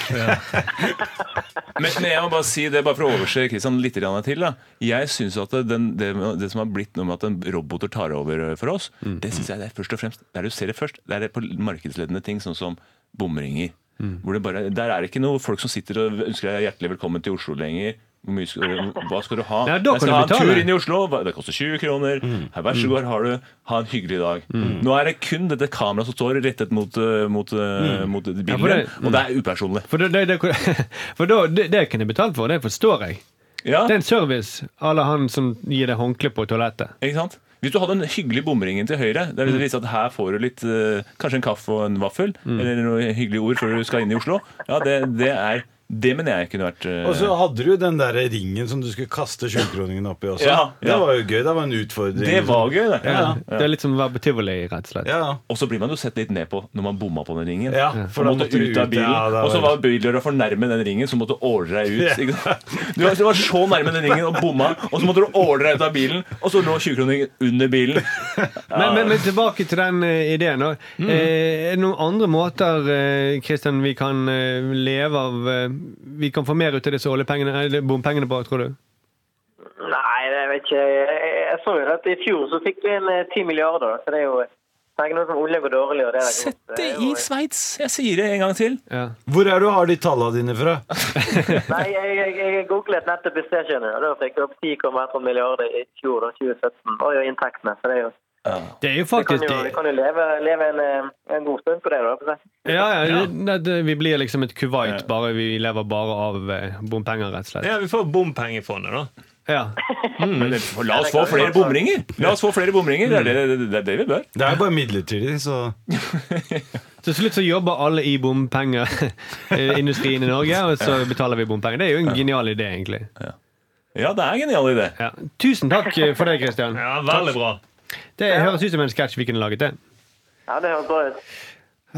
Speaker 2: Men, men jeg må bare si det, bare for å overse Kristian litt grann til. da Jeg synes at det, den, det, det som har blitt noe med at en roboter tar over eh, for oss,
Speaker 3: Mm.
Speaker 2: det synes jeg det er først og fremst der du ser det først. Det er det på markedsledende ting, sånn som bomringer.
Speaker 3: Mm.
Speaker 2: Hvor det bare, der er det ikke noe folk som sitter og ønsker deg hjertelig velkommen til Oslo lenger. Hvor mye skal, hva skal du ha?
Speaker 3: Ja, da kan
Speaker 2: jeg skal
Speaker 3: du
Speaker 2: ha en
Speaker 3: betale. Mm.
Speaker 2: tur inn i Oslo. hva- Det koster 20 kroner. Her, vær så god, her har du. Ha en hyggelig dag. Nå er det kun dette kameraet som står rettet mot, eh, mot, eh, mot bilen,
Speaker 3: Mm. for det-
Speaker 2: og det er upersonlig.
Speaker 3: For, det, det, det, for da, det, det kunne jeg betalt for, det forstår jeg.
Speaker 2: Ja.
Speaker 3: Det er en service à la han som gir deg håndkle på toalettet.
Speaker 2: Ikke sant? Hvis du hadde en hyggelig bomringen til høyre, der det viser at her får du litt eh, kanskje en kaffe og en vaffel, eller noen hyggelige ord før du skal inn i Oslo, ja, det, det er Det mener jeg kunne vært eh,
Speaker 4: Og så hadde du den der ringen som du skulle kaste 20-kroningen oppi også.
Speaker 2: Ja,
Speaker 4: Det
Speaker 2: ja.
Speaker 4: var jo gøy. Det var en utfordring.
Speaker 2: Det var gøy, det.
Speaker 3: Det er litt som å være på tivoli, rett og slett.
Speaker 4: Ja,
Speaker 2: Og så blir man jo sett litt ned på når man bomma på den ringen.
Speaker 4: ja.
Speaker 2: For måtte
Speaker 4: du
Speaker 2: ut av bilen,
Speaker 4: Ja, det
Speaker 2: og så
Speaker 4: var-
Speaker 2: var bildøra for nærme den ringen, så måtte du åle deg ut. Ikke sant? Du var- du var så nærme den ringen og bomma, og så måtte du åle deg ut av bilen, og så lå 20-kroningen under bilen.
Speaker 3: Men, men, men tilbake til den eh, ideen. da. Eh, er det noen andre måter eh, Kristian, vi kan eh, leve av eh, Vi kan få mer ut av disse oljepengene, eller bompengene på, tror du?
Speaker 8: Nei, jeg vet ikke. Jeg, jeg så jo at i fjor så fikk vi en eh, ti milliarder, så det er jo Tenk nå som olje går dårlig, og det er godt.
Speaker 2: Sett
Speaker 8: er
Speaker 2: det
Speaker 8: jo-
Speaker 2: i Sveits! Jeg sier det en gang til.
Speaker 3: Ja.
Speaker 4: Hvor er du har de tallene dine fra?
Speaker 8: Nei, jeg, jeg, jeg googlet nettopp i sted, skjønner du, og da fikk jeg opp 10,1 milliarder i fjor, da, 2017. Og jo inntektene, så det er jo
Speaker 3: Det er jo
Speaker 8: Vi kan
Speaker 3: faktisk
Speaker 8: jo, vi kan jo leve, leve en, eh, en god stund på det, da. for å si.
Speaker 3: Ja, ja, det, det, Vi blir liksom et Kuwait, bare vi lever bare av eh, bompenger, rett og slett.
Speaker 7: Ja, Vi får bompengefondet, da.
Speaker 3: Ja. Mm.
Speaker 2: Men det- for la oss få flere bomringer! La oss få flere bomringer, det er det, det, det, er det vi bør.
Speaker 4: Det er bare midlertidig, så
Speaker 3: Til slutt så jobber alle i bompengeindustrien i Norge, og så betaler vi bompenger. Det er jo en genial idé, egentlig.
Speaker 2: Ja, det er en genial idé.
Speaker 3: Ja. Tusen takk eh, for det, Christian.
Speaker 7: Ja, veldig bra.
Speaker 3: Det høres ut som en sketsj vi kunne laget. det.
Speaker 8: Ja, det høres bra ut.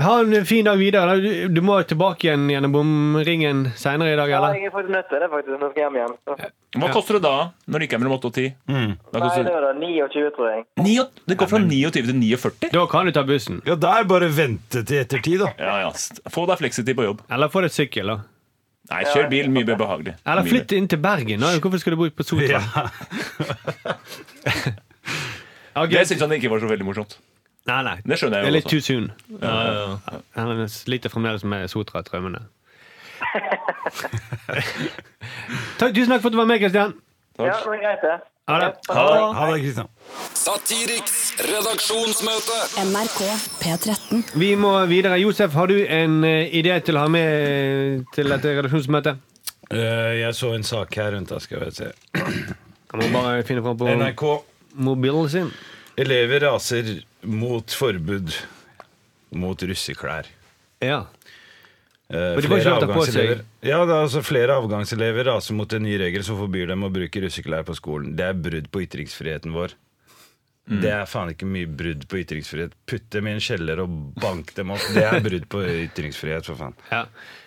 Speaker 3: Ha en fin dag videre. Du- Du må tilbake igjen gjennom bomringen seinere i dag,
Speaker 8: Ja,
Speaker 3: eller?
Speaker 8: jeg er faktisk nødt til det, faktisk. Nå skal jeg hjem igjen. Så.
Speaker 2: Hva koster det da, når det ikke er mellom 8 og 10? Da
Speaker 8: Nei,
Speaker 2: koster
Speaker 8: det
Speaker 2: det,
Speaker 8: var da 29, tror jeg.
Speaker 2: Ni og- det går fra 29 til 49.
Speaker 3: Da kan du ta bussen.
Speaker 4: Ja, da er det bare å vente til ettertid, da.
Speaker 2: Ja, ja. st- Få deg fleksitid på jobb.
Speaker 3: Eller få deg sykkel. da.
Speaker 2: Nei, kjør bil. Mye mer behagelig.
Speaker 3: Eller
Speaker 2: Mye
Speaker 3: flytt inn til Bergen. da. Hvorfor skal du bo på Sotra? Ok.
Speaker 2: mer. Det syns han ikke var så veldig morsomt.
Speaker 3: Nei, nei.
Speaker 2: Det skjønner jeg
Speaker 3: Det er
Speaker 2: jo
Speaker 3: litt
Speaker 2: også.
Speaker 3: too soon.
Speaker 7: Ja, ja, ja.
Speaker 3: Han sliter fremdeles med Sotra-traumene. Takk, Tusen takk for at du var med, Kristian.
Speaker 8: Ja, det var greit, det.
Speaker 3: Ha det.
Speaker 4: Ha det, Kristian.
Speaker 5: Satiriks redaksjonsmøte.
Speaker 6: NRK P13.
Speaker 3: Vi må videre. Josef, har du en eh, idé til å ha med til dette redaksjonsmøtet?
Speaker 4: Eh, jeg så en sak her rundt da, skal jeg se.
Speaker 3: Kan man bare finne fram på
Speaker 4: NRK.
Speaker 3: mobilen sin?
Speaker 4: Elever raser mot forbud mot russeklær.
Speaker 3: Ja.
Speaker 4: Eh,
Speaker 3: Men de får ikke lov til å ha på seg.
Speaker 4: avgangselever- Ja, det er altså flere avgangselever raser mot en ny regel som forbyr dem å bruke russeklær på skolen. Det er brudd på ytringsfriheten vår. Det er faen ikke mye brudd på ytringsfrihet. Putt dem i en kjeller og bank dem opp. Det er brudd på ytringsfrihet, for faen.
Speaker 3: ja.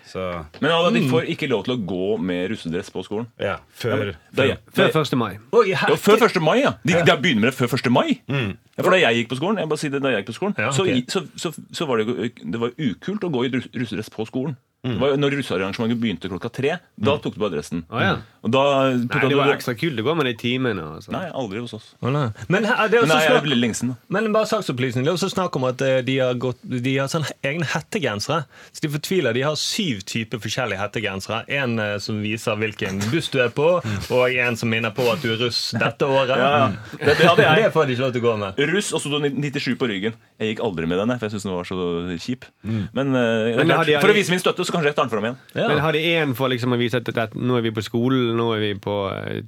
Speaker 4: Så
Speaker 2: Men Ada, de får ikke lov til å gå med russedress på skolen.
Speaker 4: ja, før
Speaker 2: Da, ja.
Speaker 3: Før 1. mai.
Speaker 7: Oi,
Speaker 2: Ja,
Speaker 7: her.
Speaker 2: før 1. mai, ja. De, de begynner med det før 1. mai. Ja, for da jeg gikk på skolen, jeg bare sier det, da jeg gikk på skolen
Speaker 7: Ja,
Speaker 2: så,
Speaker 7: ok.
Speaker 2: i- så, så, så var det, jo- det var jo ukult å gå i rus- russedress på skolen. Det var jo når russearrangementet begynte klokka tre, da tok du på adressen.
Speaker 3: Å, ja.
Speaker 2: Og da tok
Speaker 3: Nei, det var
Speaker 2: du
Speaker 3: ekstra kult. Det går med det i timen. og sånn.
Speaker 2: Nei, aldri hos oss.
Speaker 7: Å, nei. Men her, det er
Speaker 2: Men
Speaker 7: også
Speaker 2: det er
Speaker 7: snakk,
Speaker 2: veldig lenge siden. da.
Speaker 7: men bare saksopplysning. Det er også snakk om at eh, de har, gått, de har sånn egne hettegensere. Så de fortviler. De har syv typer forskjellige hettegensere. En eh, som viser hvilken buss du er på, og en som minner på at du er russ dette året. Mm.
Speaker 2: Det, det hadde jeg.
Speaker 7: Det får de ikke lov til å gå med.
Speaker 2: Mm. Russ, og så sto det 97 på ryggen. Jeg gikk aldri med den, jeg, for jeg syntes den var så kjip. Men, eh, det
Speaker 3: Men
Speaker 2: er
Speaker 3: har
Speaker 2: klart,
Speaker 3: de-
Speaker 2: for å vise min støtte, så kanskje jeg tar den fram igjen.
Speaker 7: Ja.
Speaker 3: Men har de én for liksom å vise at, at nå er vi på skolen, nå er vi på eh,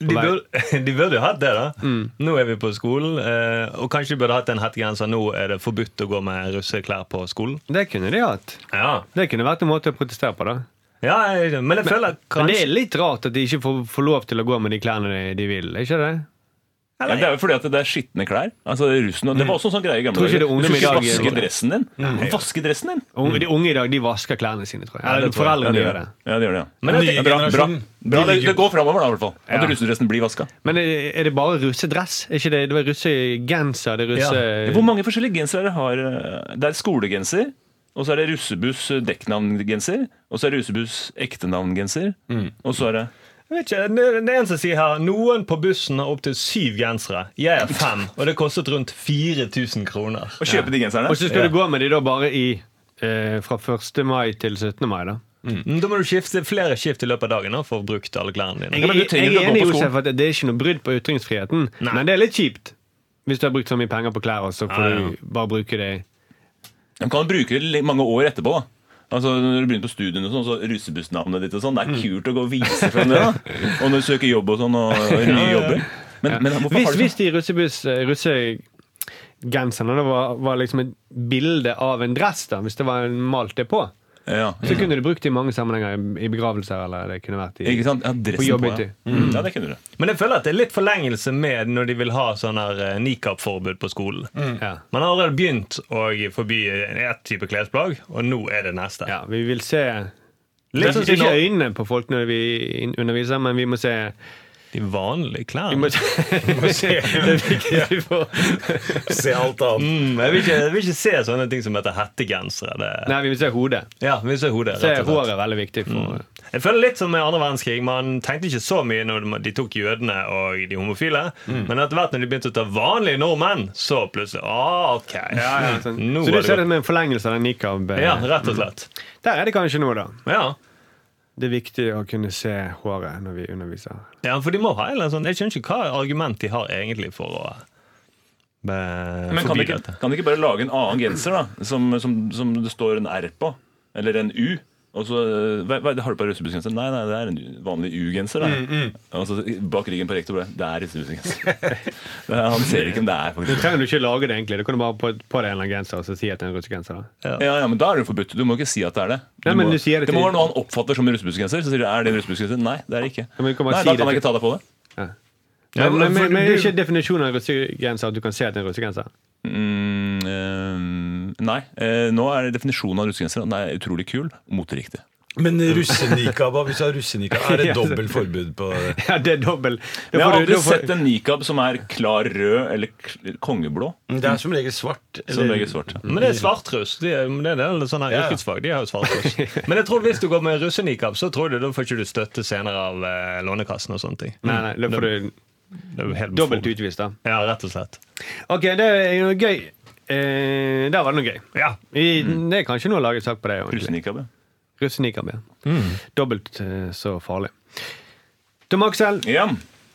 Speaker 3: på
Speaker 7: De
Speaker 3: vei-
Speaker 7: burde, de burde jo hatt det, da. Nå er vi på skolen, eh, og kanskje de burde hatt en hettegenser. Nå er det forbudt å gå med russeklær på skolen.
Speaker 3: Det kunne de hatt.
Speaker 7: Ja,
Speaker 3: Det kunne vært en måte å protestere på, da.
Speaker 7: ja jeg- Men jeg føler
Speaker 3: Men det
Speaker 7: kanskje
Speaker 3: er litt rart at de ikke får, får lov til å gå med de klærne de, de vil. er ikke det?
Speaker 2: Ja, det er jo fordi at det er skitne klær. Altså, det, er russen, og det var også en sånn greie i gamle
Speaker 3: Tror
Speaker 2: dager.
Speaker 3: ikke det er
Speaker 2: Du må ikke
Speaker 3: ungdomsdag-
Speaker 2: vaske dressen din. Vaske dressen din!
Speaker 3: Unge, de unge i dag de vasker klærne sine, tror jeg.
Speaker 2: Ja,
Speaker 3: Eller
Speaker 2: tror jeg.
Speaker 3: foreldrene
Speaker 2: ja,
Speaker 3: gjør det.
Speaker 2: Ja, det gjør det, ja.
Speaker 7: Men jeg tenker-
Speaker 2: bra, bra. bra.
Speaker 4: generasjonen, de
Speaker 2: Det,
Speaker 4: ligger
Speaker 2: det
Speaker 4: jo-
Speaker 2: går framover, da, i hvert fall. At
Speaker 3: Ja.
Speaker 2: russedressen blir vaska.
Speaker 3: Men er, er det bare russedress? Er ikke det, det var russegenser? Det er russe...
Speaker 2: Hvor mange forskjellige gensere har eh, Det er skolegenser, og så er det russebuss eh, dekknavngenser, og så er det russebuss ektenavngenser,
Speaker 3: Mm.
Speaker 2: og så er det
Speaker 7: Jeg vet ikke, det det er en som sier her Noen på bussen har opptil syv gensere. Jeg er fem, og det kostet rundt 4000 kroner.
Speaker 2: Å kjøpe de genserne?
Speaker 3: Og så skal du gå med de da bare i eh, fra 1. mai til 17. mai, da.
Speaker 7: Mm, Da må du skifte flere skift i løpet av dagen da, for å bruke alle klærne dine.
Speaker 3: Jeg,
Speaker 2: Ja, men du
Speaker 3: jeg,
Speaker 2: trenger
Speaker 3: jeg
Speaker 2: ikke å gå
Speaker 3: er enig
Speaker 2: på
Speaker 3: Josef, at det er ikke noe brudd på ytringsfriheten,
Speaker 7: Nei.
Speaker 3: men det er litt kjipt. Hvis du har brukt så mye penger på klær, og så får
Speaker 7: Ja, ja.
Speaker 3: du bare bruke det
Speaker 2: De kan bruke det li- mange år etterpå. da Altså, når du begynner på studiene og sånn, så russebussnavnet ditt og sånn, det er kult å gå og vise frem det. da Og når du søker jobb og sånn, og, og nye jobber. Men, men hvorfor
Speaker 3: Hvis,
Speaker 2: har du
Speaker 3: hvis de russebuss eh, russegenserne da var, var liksom et bilde av en dress, da, hvis det var en malt det på,
Speaker 2: sånn? Ja.
Speaker 3: så kunne du brukt det i mange sammenhenger, i, i begravelser eller det kunne vært i
Speaker 2: Ikke sant? Ja, dressen
Speaker 3: På jobb
Speaker 2: ja.
Speaker 3: ute.
Speaker 2: Mm. ja, det kunne du.
Speaker 7: Men jeg føler at det er litt forlengelse med når de vil ha sånn her eh, nikab-forbud på skolen.
Speaker 3: ja.
Speaker 7: Man har allerede begynt å forby ett type klesplagg, og nå er det neste.
Speaker 3: ja, vi vil se
Speaker 7: Litt sånn
Speaker 3: Kanskje
Speaker 7: som
Speaker 3: ikke
Speaker 7: nå-
Speaker 3: øynene på folk når vi in- underviser, men vi må se
Speaker 7: De vanlige
Speaker 3: Vi
Speaker 7: klærne.
Speaker 3: må se, vi må se. Det er viktig vi får
Speaker 4: Se alt annet.
Speaker 7: Mm, jeg, vil ikke, jeg vil ikke se sånne ting som heter hettegensere. Det.
Speaker 3: Nei, vi vil se hodet.
Speaker 7: Ja, vi ser hodet,
Speaker 3: Se,
Speaker 7: rett og slett. Mm.
Speaker 3: håret er veldig viktig. For,
Speaker 7: Jeg føler litt som med andre verdenskrig. Man tenkte ikke så mye når de tok jødene og de homofile.
Speaker 3: Mm.
Speaker 7: Men etter hvert når de begynte å ta vanlige nordmenn, så plutselig ah, ok. Nå
Speaker 3: sånn. Så du
Speaker 7: er
Speaker 3: ser det
Speaker 7: det godt.
Speaker 3: som en forlengelse av den nikab? eh,
Speaker 7: Ja, rett og slett.
Speaker 3: Der er det kanskje noe, da.
Speaker 7: Ja.
Speaker 3: Det er viktig å kunne se håret når vi underviser.
Speaker 7: ja, for de må ha en eller annen sånn Jeg skjønner ikke hva argument de har egentlig for å be,
Speaker 2: Men kan de,
Speaker 7: forby
Speaker 2: ikke,
Speaker 7: dette.
Speaker 2: kan de ikke bare lage en annen genser da som, som, som det står en R på? Eller en U? Og så, eh, hva, hva, Har du på deg russebussgenser? Nei, nei, det er en vanlig U-genser. da.
Speaker 3: Mm,
Speaker 2: Og så bak ryggen på rektor ble det er russebussgenser. Det er- Han ser ikke om det er
Speaker 3: Du
Speaker 2: faktisk
Speaker 3: trenger du ikke lage det, egentlig. Du kan jo bare på, på deg en eller annen genser og så si at det er en russegenser. da.
Speaker 2: ja, ja, men Da er det jo forbudt. Du må ikke si at det er det. Du
Speaker 3: Nei,
Speaker 2: må,
Speaker 3: men du sier
Speaker 2: må
Speaker 3: det til-
Speaker 2: være noe han oppfatter som en russebussgenser. Så sier du er det en russebussgenser? Nei, det er det ikke.
Speaker 3: Ja, men du kan bare
Speaker 2: Nei,
Speaker 3: si
Speaker 2: Da
Speaker 3: det
Speaker 2: kan han
Speaker 3: til-
Speaker 2: ikke ta deg på det.
Speaker 3: Men, men, men, men,
Speaker 7: for
Speaker 3: er
Speaker 7: du-
Speaker 3: det ikke definisjonen av russegenser at du kan se at det er en russegenser?
Speaker 2: Mm, eh, nei. Eh, nå er definisjonen av russegenser at den er utrolig kul. Moteriktig.
Speaker 4: Men russenikab, hva hvis du har russenikab, er det dobbelt forbud på det?
Speaker 3: Ja, det er dobbel. Da
Speaker 2: Men jeg har
Speaker 3: får du-
Speaker 2: aldri
Speaker 3: da får-
Speaker 2: sett en nikab som er klar rød eller k- kongeblå.
Speaker 4: Det er som regel svart.
Speaker 2: Som begge svart.
Speaker 7: Men det er svartruss. De er, det er del sånne
Speaker 4: Ja.
Speaker 7: yrkesfag. De har jo svartruss. Men jeg tror hvis du går med russenikab, så tror du da får ikke du støtte senere av eh, Lånekassen og sånne ting.
Speaker 3: Nei, nei, da får du
Speaker 7: Det er jo helt
Speaker 3: dobbelt
Speaker 7: befromt.
Speaker 3: utvist, da.
Speaker 7: Ja, rett og slett.
Speaker 3: Ok, det er jo gøy. Eh, der var det noe gøy.
Speaker 7: Ja.
Speaker 3: I, Det er kanskje noe å lage sak på det. egentlig.
Speaker 2: Russenikab, ja.
Speaker 3: Russenikab, ja. Dobbelt eh, så farlig. Tom Aksel,
Speaker 2: Ja.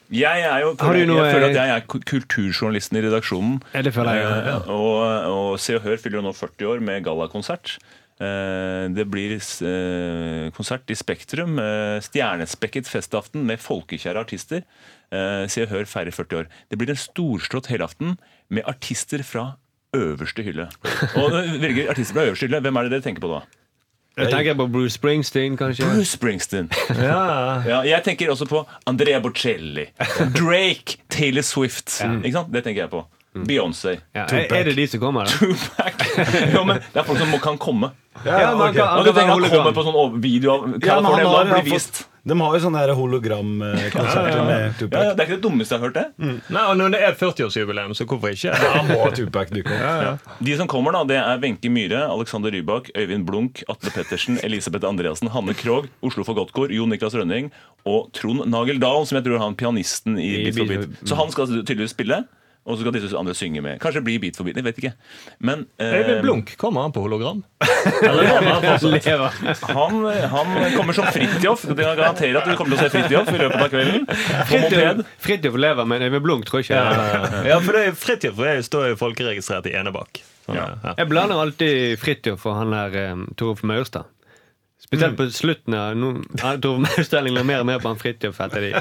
Speaker 2: Jeg, er jo,
Speaker 3: Har du noe-
Speaker 2: jeg føler at jeg er ku- kulturjournalisten i redaksjonen.
Speaker 3: Ja, det føler jeg, ja, ja.
Speaker 2: Eh, Og, og Se og Hør fyller jo nå 40 år med gallakonsert. Eh, Det blir eh, konsert i Spektrum. eh, Stjernespekket festaften med folkekjære artister. Eh, Se og Hør feirer 40 år. Det blir en storslått helaften med artister fra øverste hylle. Og når du velger artister fra øverste hylle, Hvem er det dere tenker på da?
Speaker 3: jeg tenker på Bruce Springsteen, kanskje.
Speaker 2: Bruce Springsteen.
Speaker 7: Ja.
Speaker 2: Ja, jeg tenker også på Andrea Bocelli, Drake, Taylor Swift. Ikke sant? Det tenker jeg på.
Speaker 4: Mm.
Speaker 2: Beyoncé.
Speaker 3: Ja, er, er det de som kommer, da?
Speaker 2: Tupac. Jo, men det er folk som må, kan komme.
Speaker 3: Ja, man kan-
Speaker 2: Og
Speaker 3: han
Speaker 2: du tenker
Speaker 3: kan være
Speaker 2: han
Speaker 3: hologram.
Speaker 2: kommer på sånn over- video av
Speaker 4: Ja, men han
Speaker 2: California
Speaker 4: har-
Speaker 2: Love
Speaker 4: han
Speaker 2: blir
Speaker 4: har
Speaker 2: vist.
Speaker 4: fått- De har jo sånne her hologramkonserter
Speaker 2: Ja,
Speaker 4: med
Speaker 2: ja,
Speaker 4: Tupac.
Speaker 2: det er ikke det dummeste jeg har hørt. det
Speaker 7: Nei, og når det er 40-årsjubileum, så hvorfor ikke?
Speaker 4: Da må Tupac dukke opp.
Speaker 2: De som kommer, da, det er Wenche Myhre, Alexander Rybak, Øyvind Blunk, Atle Pettersen, Elisabeth Andreassen, Hanne Krogh, Oslo Fagottkor, Jon Niklas Rønning og Trond Nagel Dahl, som jeg tror er han pianisten i
Speaker 3: I
Speaker 2: Beat for
Speaker 3: Beat
Speaker 2: beat.
Speaker 3: for-
Speaker 2: Så han skal tydeligvis spille, og så skal disse andre synge med. Kanskje bli Beat for beat, jeg vet ikke. Men eh,
Speaker 7: Øyvind Blunk, kommer han på hologram?
Speaker 3: Lever.
Speaker 2: han, han kommer som Fridtjof. Det kan jeg garantere at du kommer til å se Fridtjof i løpet av kvelden. På moped.
Speaker 3: Fridtjof- Fridtjof lever, men Øyvind Blunk tror ikke jeg.
Speaker 7: Ja, for det er Fridtjof for jeg står jo folkeregistrert i Enebakk. Sånn,
Speaker 2: Ja.
Speaker 7: ja.
Speaker 3: Jeg blander alltid Fridtjof og han der um, Torolf Maurstad. Spesielt på slutten av no, han- Torolf Maurstad ligner mer og mer på han Fridtjof etter de.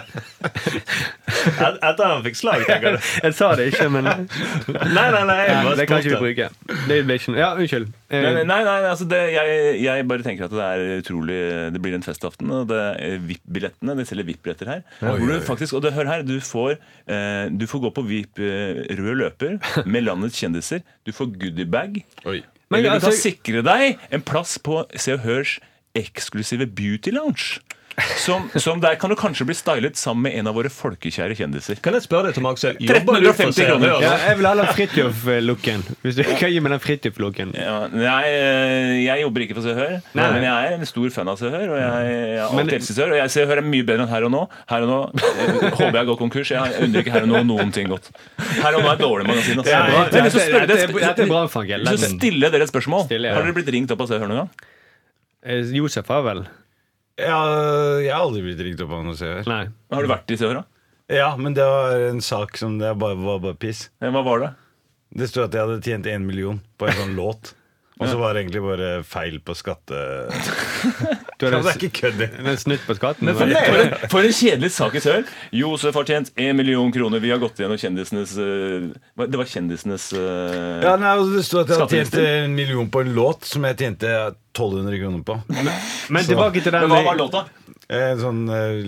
Speaker 7: Et- Etter han fikk slag, tenker du.
Speaker 3: Jeg sa det ikke, men
Speaker 7: Nei, nei, nei, jeg
Speaker 3: Nei,
Speaker 7: bare
Speaker 3: det kan ikke vi
Speaker 7: spurte.
Speaker 3: bruke. Det blir ikke noe Ja, unnskyld. Eh,
Speaker 2: Nei, nei, nei, altså det, jeg, jeg bare tenker at det er utrolig Det blir en festaften. Og det er VIP-billettene. De selger VIP-billetter her. Hvor du faktisk, og det, hør her, du får, eh, du får gå på VIP eh, rød løper med landets kjendiser. Du får goodiebag.
Speaker 4: Oi.
Speaker 3: Men
Speaker 2: Eller du kan
Speaker 3: altså-
Speaker 2: sikre deg en plass på Se og Hørs eksklusive beauty lounge. Som, som der kan du kanskje bli stylet sammen med en av våre folkekjære kjendiser.
Speaker 7: Kan jeg spørre deg, Tom Aksel? Jobber du for
Speaker 2: 1350 kroner.
Speaker 3: ja,
Speaker 7: Sør-Hør?
Speaker 3: jeg vil ha den Fridtjof-looken. Hvis du kan gi meg den Fridtjof-looken.
Speaker 2: Ja, nei, eh, jeg jobber ikke for Se og Hør,
Speaker 3: Nei.
Speaker 2: men jeg er en stor fan av Se og Hør. Og jeg, jeg har
Speaker 3: Men-
Speaker 2: alltid elsket Se og Hør, og jeg ser Hør er mye bedre enn Her og Nå. Her og Nå eh, håper jeg går konkurs. Jeg unner ikke Her og Nå noen ting godt. Her og Nå er dårlig magasin. Altså.
Speaker 3: Ja, ja, ja.
Speaker 2: Jeg har lyst til å spørre
Speaker 3: Dette er-
Speaker 2: dere-
Speaker 3: dette er bra, Frank Hjelland.
Speaker 2: Jeg har lyst til å stille dere et spørsmål.
Speaker 3: Stille, ja.
Speaker 2: Har dere blitt ringt opp av Se og Hør noen gang?
Speaker 3: Eh, Josef har vel
Speaker 4: Ja, jeg har aldri blitt ringt opp av noe seer.
Speaker 3: Nei.
Speaker 2: Har du vært i Se og Hør, da?
Speaker 4: Ja, men det var en sak som det bare, var bare piss.
Speaker 2: Eh, Hva var det?
Speaker 4: Det sto at jeg hadde tjent én million på en sånn låt. Og så var det egentlig bare feil på skatte...
Speaker 3: Du
Speaker 4: Det
Speaker 3: hadde
Speaker 4: er ikke kødd. det.
Speaker 3: en snutt på skatten.
Speaker 2: For en, for en kjedelig sak i Se og Hør. Josef har tjent én million kroner. Vi har gått gjennom kjendisenes eh, hva- Det var kjendisenes eh,
Speaker 4: Ja, nei, altså, Det sto at jeg hadde tjent
Speaker 2: Skatteliste.
Speaker 4: en million på en låt som jeg tjente 1200 kroner på.
Speaker 3: Men tilbake til den
Speaker 2: Men hva var låta?
Speaker 4: En sånn eh,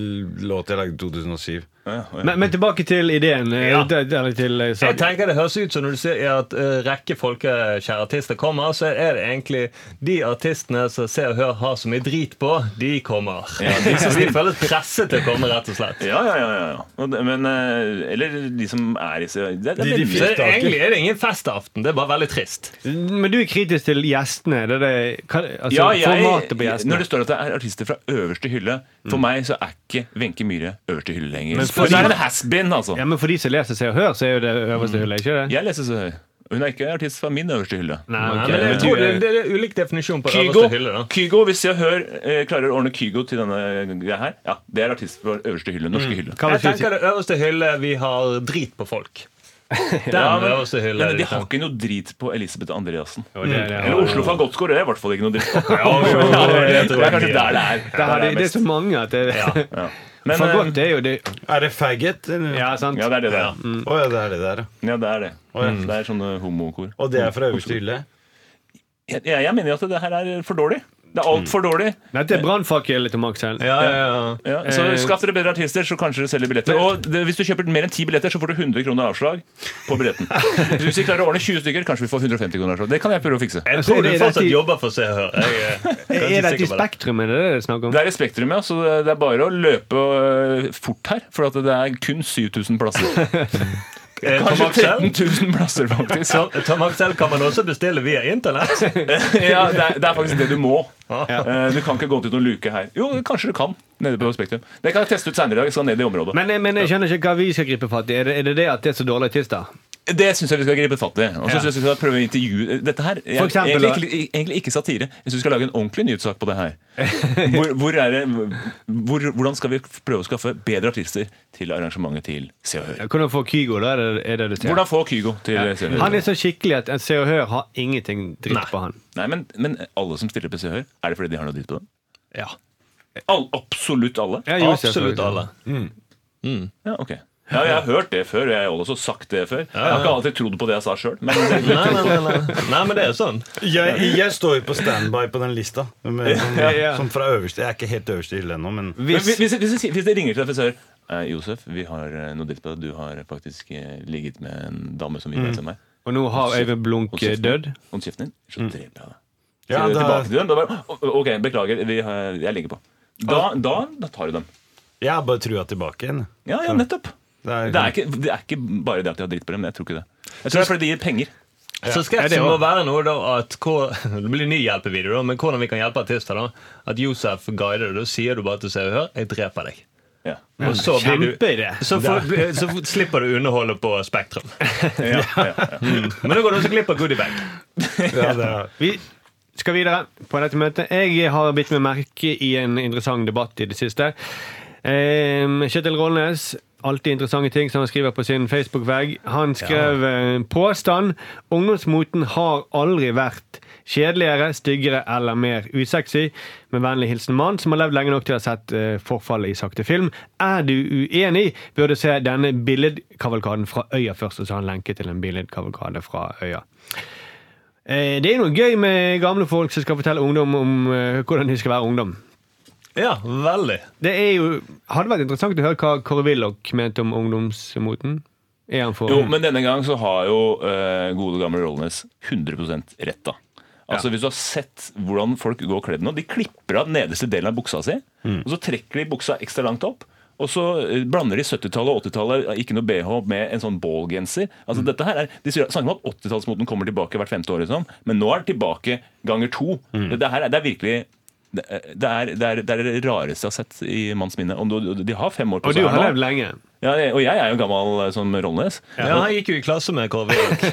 Speaker 4: låt jeg lagde i 2007.
Speaker 2: Ja, ja.
Speaker 3: men, men tilbake til ideen. eh,
Speaker 7: Ja.
Speaker 3: til- Eller til eh,
Speaker 7: Jeg
Speaker 3: saken.
Speaker 7: tenker Det høres ut som når du ser at eh, rekke folkekjære artister kommer, så er det egentlig de artistene som Se og Hør har så mye drit på, de kommer. de, føles presset til å komme, rett og slett.
Speaker 2: Ja, ja, ja. ja, ja. Og det- Men, eh, eller de som er i seg det, det,
Speaker 4: De- de
Speaker 7: Så
Speaker 2: veldig-
Speaker 7: det, egentlig er det ingen festaften. Det er bare veldig trist.
Speaker 3: Men du er kritisk til gjestene. Det er det, hva, altså,
Speaker 2: ja, jeg,
Speaker 3: formatet på Mm. gjestene.
Speaker 2: når det står at det er artister fra øverste hylle For meg så er ikke Wenche Myhre øverste hylle lenger. Men
Speaker 3: fordi-
Speaker 2: er det has-been, altså.
Speaker 3: Ja, Men for de som leser Se og Hør, så er jo det øverste hullet, ikke det?
Speaker 2: Jeg leser så høy. Hun er ikke artist fra min øverste hylle.
Speaker 3: Nei,
Speaker 7: Nei,
Speaker 3: ok.
Speaker 7: men eh, jeg
Speaker 3: Men
Speaker 7: tror
Speaker 3: du
Speaker 7: det,
Speaker 3: er-
Speaker 7: det er ulik definisjon på
Speaker 2: Kygo,
Speaker 7: øverste hylle. da
Speaker 2: Kygo, hvis jeg hører, eh, klarer å ordne Kygo til denne greia her,
Speaker 3: Mm.
Speaker 2: ja, det er artist fra øverste hylle. Norske hylle.
Speaker 3: Hva vil
Speaker 7: Jeg
Speaker 3: du si?
Speaker 7: tenker det øverste hylle vi har drit på folk. Den
Speaker 2: men,
Speaker 7: var også hylla
Speaker 2: men de
Speaker 7: litt,
Speaker 2: har
Speaker 7: den.
Speaker 2: ikke noe drit på Elisabeth Andreassen.
Speaker 3: det er det.
Speaker 2: Eller Oslo Fagotskår, det er i hvert fall ikke noe dritt på.
Speaker 7: jo, jo,
Speaker 2: det,
Speaker 7: det tror
Speaker 2: er
Speaker 7: jeg
Speaker 2: kanskje
Speaker 7: de
Speaker 2: der
Speaker 7: har.
Speaker 2: det er.
Speaker 3: Det, har de, det er så mange at det
Speaker 2: Ja. Men,
Speaker 3: For
Speaker 2: eh,
Speaker 3: godt, det er jo det
Speaker 4: Er det faggot? eller?
Speaker 3: Ja, sant?
Speaker 2: ja, det er det der.
Speaker 4: Å ja, det er det der, ja.
Speaker 2: Ja, det er det. Mm. Det er sånne homokor.
Speaker 4: Og det er fra øverste hylle?
Speaker 2: Jeg, jeg jeg mener jo at det her er for dårlig. Det er altfor dårlig.
Speaker 3: Dette er brannfakkel, Tom Aksel.
Speaker 7: Ja, ja, ja.
Speaker 2: Ja, så Skaff dere bedre artister, så kanskje dere selger billetter. Og det, hvis du kjøper mer enn ti billetter, så får du 100 kroner avslag på billetten. Hvis vi klarer å ordne 20 stykker, kanskje vi får 150 kroner avslag. Det kan jeg prøve å fikse.
Speaker 7: Jeg
Speaker 3: Altså, er
Speaker 7: tror du
Speaker 3: det
Speaker 7: fortsatt
Speaker 3: rett i-
Speaker 7: jobber for Se og Hør. Jeg er ganske
Speaker 3: Er dette i
Speaker 7: sikker på det.
Speaker 3: Spektrum, er det det det er snakk om?
Speaker 2: Det er i Spektrum, ja, så det- det er bare å løpe øh, fort her. For at det er kun 7000 plasser.
Speaker 7: Eh, Tom
Speaker 2: Kanskje
Speaker 7: Axel?
Speaker 2: 13 000 plasser, faktisk. Så,
Speaker 7: eh, Tom- Tom Axel kan man også bestille via internett.
Speaker 2: ja, det, er, det er faktisk det du må.
Speaker 7: Ja.
Speaker 2: Eh, Du kan ikke gå til noen luke her. Jo, kanskje du kan. Nede på Spektrum. Det kan jeg teste ut senere i dag. Jeg skal ned i området.
Speaker 3: Men, eh, men jeg skjønner ikke hva vi skal gripe fatt i. Er det, er det det at det er så dårlige artister?
Speaker 2: Det syns jeg vi skal gripe fatt i. Og så synes jeg vi skal prøve å intervjue Dette her er
Speaker 3: For eksempel,
Speaker 2: egentlig, ikke- egentlig ikke satire. Jeg syns vi skal lage en ordentlig nyhetssak på det her. Hvor, hvor er det, hvor, hvordan skal vi prøve å skaffe bedre artister til arrangementet til Se og Hør?
Speaker 3: Hvordan få Kygo, da? Er det er det, det du ser?
Speaker 2: Hvordan få Kygo til Se og
Speaker 3: Han
Speaker 2: Hør?
Speaker 3: er så skikkelig at at Se og Hør har ingenting dritt på han.
Speaker 2: Nei, men, men alle som stiller på Se og Hør, er det fordi de har noe dritt på dem?
Speaker 7: Ja.
Speaker 2: All, absolutt alle?
Speaker 3: Ja, jo,
Speaker 7: Absolutt
Speaker 3: selvfølgelig.
Speaker 7: alle.
Speaker 2: Ja, ok. Ja, jeg har hørt det før, og jeg har også sagt det før. Jeg har ikke alltid trodd på det jeg sa sjøl, men
Speaker 7: Nei, nei, nei, nei. nei, men det er sånn.
Speaker 4: Jeg, jeg står jo på standby på den lista. Med, som,
Speaker 3: ja.
Speaker 4: som fra øverste Jeg er ikke helt øverste hylle ennå, men
Speaker 2: Men Hvis, hvis, hvis, hvis det ringer til deg frisør eh, Josef, vi har eh, noe dritt på deg. Du har faktisk eh, ligget med en dame
Speaker 4: Mm.
Speaker 2: som vi vet som meg.
Speaker 3: Og nå har Øyvind Blunk
Speaker 2: Hold kjeften.
Speaker 3: dødd.
Speaker 2: Hold kjeften din, så dreper jeg deg.
Speaker 4: Mm. Ja,
Speaker 2: Sier du
Speaker 4: da-
Speaker 2: tilbake til dem, da bare, «Å, Ok, beklager, vi har, jeg ligger på. Da,
Speaker 4: Ah.
Speaker 2: da, da tar du dem.
Speaker 4: jeg har bare trua tilbake igjen.
Speaker 2: Ja, ja, nettopp.
Speaker 4: Det er,
Speaker 2: Det er, ikke, det er ikke bare det at de har dritt på dem. Jeg tror ikke det. Jeg tror det er fordi de gir penger.
Speaker 7: Så
Speaker 3: Ja, det
Speaker 7: sketsjen
Speaker 3: er
Speaker 7: må
Speaker 3: også-
Speaker 7: være noe da at hvor, Det blir ny hjelpevideo, da, men hvordan vi kan hjelpe artister. da At Josef guider deg. Da sier du bare til Se og Hør 'Jeg dreper deg'.
Speaker 2: Ja.
Speaker 7: Og så, blir du,
Speaker 3: Kjempeidé.
Speaker 7: så, får, så f- slipper du underholdet på Spektrum.
Speaker 2: Ja, ja, ja.
Speaker 7: Mm. Men da går du også glipp av goodiebag.
Speaker 4: ja, det er,
Speaker 3: Vi skal videre på dette møtet. Jeg har bitt meg merke i en interessant debatt i det siste. Ehm, Kjetil Rollnes, alltid interessante ting som han skriver på sin Facebook-vegg. Han skrev eh, en påstand. Ungdomsmoten har aldri vært kjedeligere, styggere eller mer usexy. Med vennlig hilsen mann som har levd lenge nok til å ha sett eh, forfallet i sakte film. Er du uenig, bør du se denne billedkavalkaden fra Øya først. Og så har han lenke til en billedkavalkade fra Øya. Eh, Det er noe gøy med gamle folk som skal fortelle ungdom om eh, hvordan de skal være ungdom.
Speaker 7: Ja, veldig.
Speaker 3: Det er jo, hadde vært interessant å høre hva Kåre Willoch mente om ungdomsmoten. Er han for
Speaker 2: Jo, men denne gang så har jo eh, gode gamle Rollnes 100 rett, da. Altså Hvis du har sett hvordan folk går kledd nå De klipper av den nederste delen av buksa si,
Speaker 3: Mm.
Speaker 2: og så trekker de buksa ekstra langt opp. Og så eh, blander de 70-tallet og 80-tallet, ikke noe BH, med en sånn ballgenser.
Speaker 3: Mm.
Speaker 2: Altså dette her er, De sier- snakker om at 80-tallsmoten kommer tilbake hvert femte år, liksom. men nå er det tilbake ganger to.
Speaker 3: Mm.
Speaker 2: Dette her, er- det er virkelig det er, det, er, det, er, det er det rareste jeg har sett i manns minne. Om du, de har fem år på
Speaker 3: Og du
Speaker 2: seg.
Speaker 3: har
Speaker 2: her
Speaker 3: levd
Speaker 2: nå.
Speaker 3: lenge.
Speaker 2: Ja, og jeg er jo gammel eh, som Rollnes.
Speaker 7: Ja, Han gikk jo i klasse med Kåre Willoch.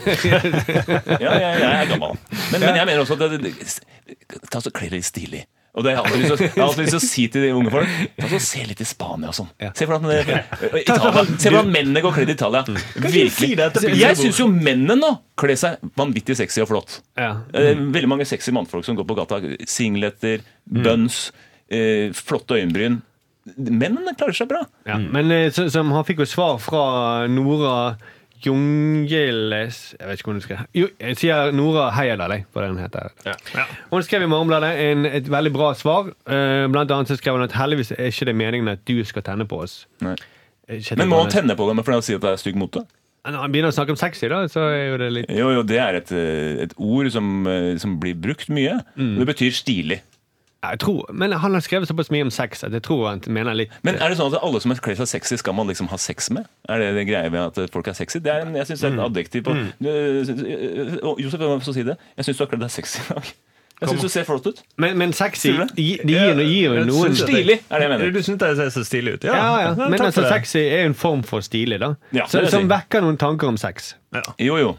Speaker 2: Ja, jeg, jeg er gammel. Men, men jeg mener også at det, det, ta så kle deg stilig. Og det har jeg alltid lyst til å- jeg har alltid lyst til å si til de unge folk. Ta så Se litt i Spania og sånn. Se hvordan, det- og Italia, se hvordan mennene går kledd i Italia.
Speaker 7: si
Speaker 2: Virkelig.
Speaker 7: det etter Peterborough?
Speaker 2: Jeg syns jo mennene nå kler seg vanvittig sexy og flott.
Speaker 3: Ja.
Speaker 2: Eh, Veldig mange sexy mannfolk som går på gata. Singleter, buns, eh, flotte øyenbryn. Mennene klarer seg bra.
Speaker 3: Ja. Men eh, så, som han fikk jo svar fra Nora Jungeles Jeg vet ikke hvordan du skal Jo, jeg sier Nora Heyerdahl, jeg, hva det hun heter. Hun skrev i Morgenbladet en, et veldig bra svar. Eh, Blant annet så skrev hun at heldigvis er ikke det meningen at du skal tenne på oss.
Speaker 2: Nei.
Speaker 3: Eh, Kjetil
Speaker 2: Men må han
Speaker 3: Rollnes.
Speaker 2: tenne på dem for å si at det er stygg mote?
Speaker 3: Når han begynner å snakke om sexy, da, så er jo det litt
Speaker 2: Jo, jo, det er et, eh, et ord som, eh, som blir brukt mye. Det betyr stilig.
Speaker 3: Ja, Jeg tror, Men han har skrevet såpass mye om sex at jeg tror han mener litt
Speaker 2: Men er det sånn at alle som kler seg sexy, skal man liksom ha sex med? Er det det greia med at folk er sexy? Det er en, jeg syns det er et adjektiv på Eh, og Josef, jeg må få si det. Jeg syns du har kledd deg sexy i dag. Jeg syns du ser flott ut.
Speaker 3: Men, men sexy
Speaker 2: Tror du
Speaker 3: det gi- det gir, det gir jo
Speaker 7: Jeg
Speaker 3: noen
Speaker 7: synes at
Speaker 2: Stilig, er det jeg mener.
Speaker 7: Du syns jeg ser så stilig ut? Ja,
Speaker 3: Ja, ja. Men
Speaker 7: takk for
Speaker 3: altså,
Speaker 7: det.
Speaker 3: sexy er en form for stilig, da.
Speaker 2: Ja,
Speaker 3: så,
Speaker 2: det vil jeg
Speaker 3: som
Speaker 2: si.
Speaker 3: vekker noen tanker om sex.
Speaker 2: Jo, jo.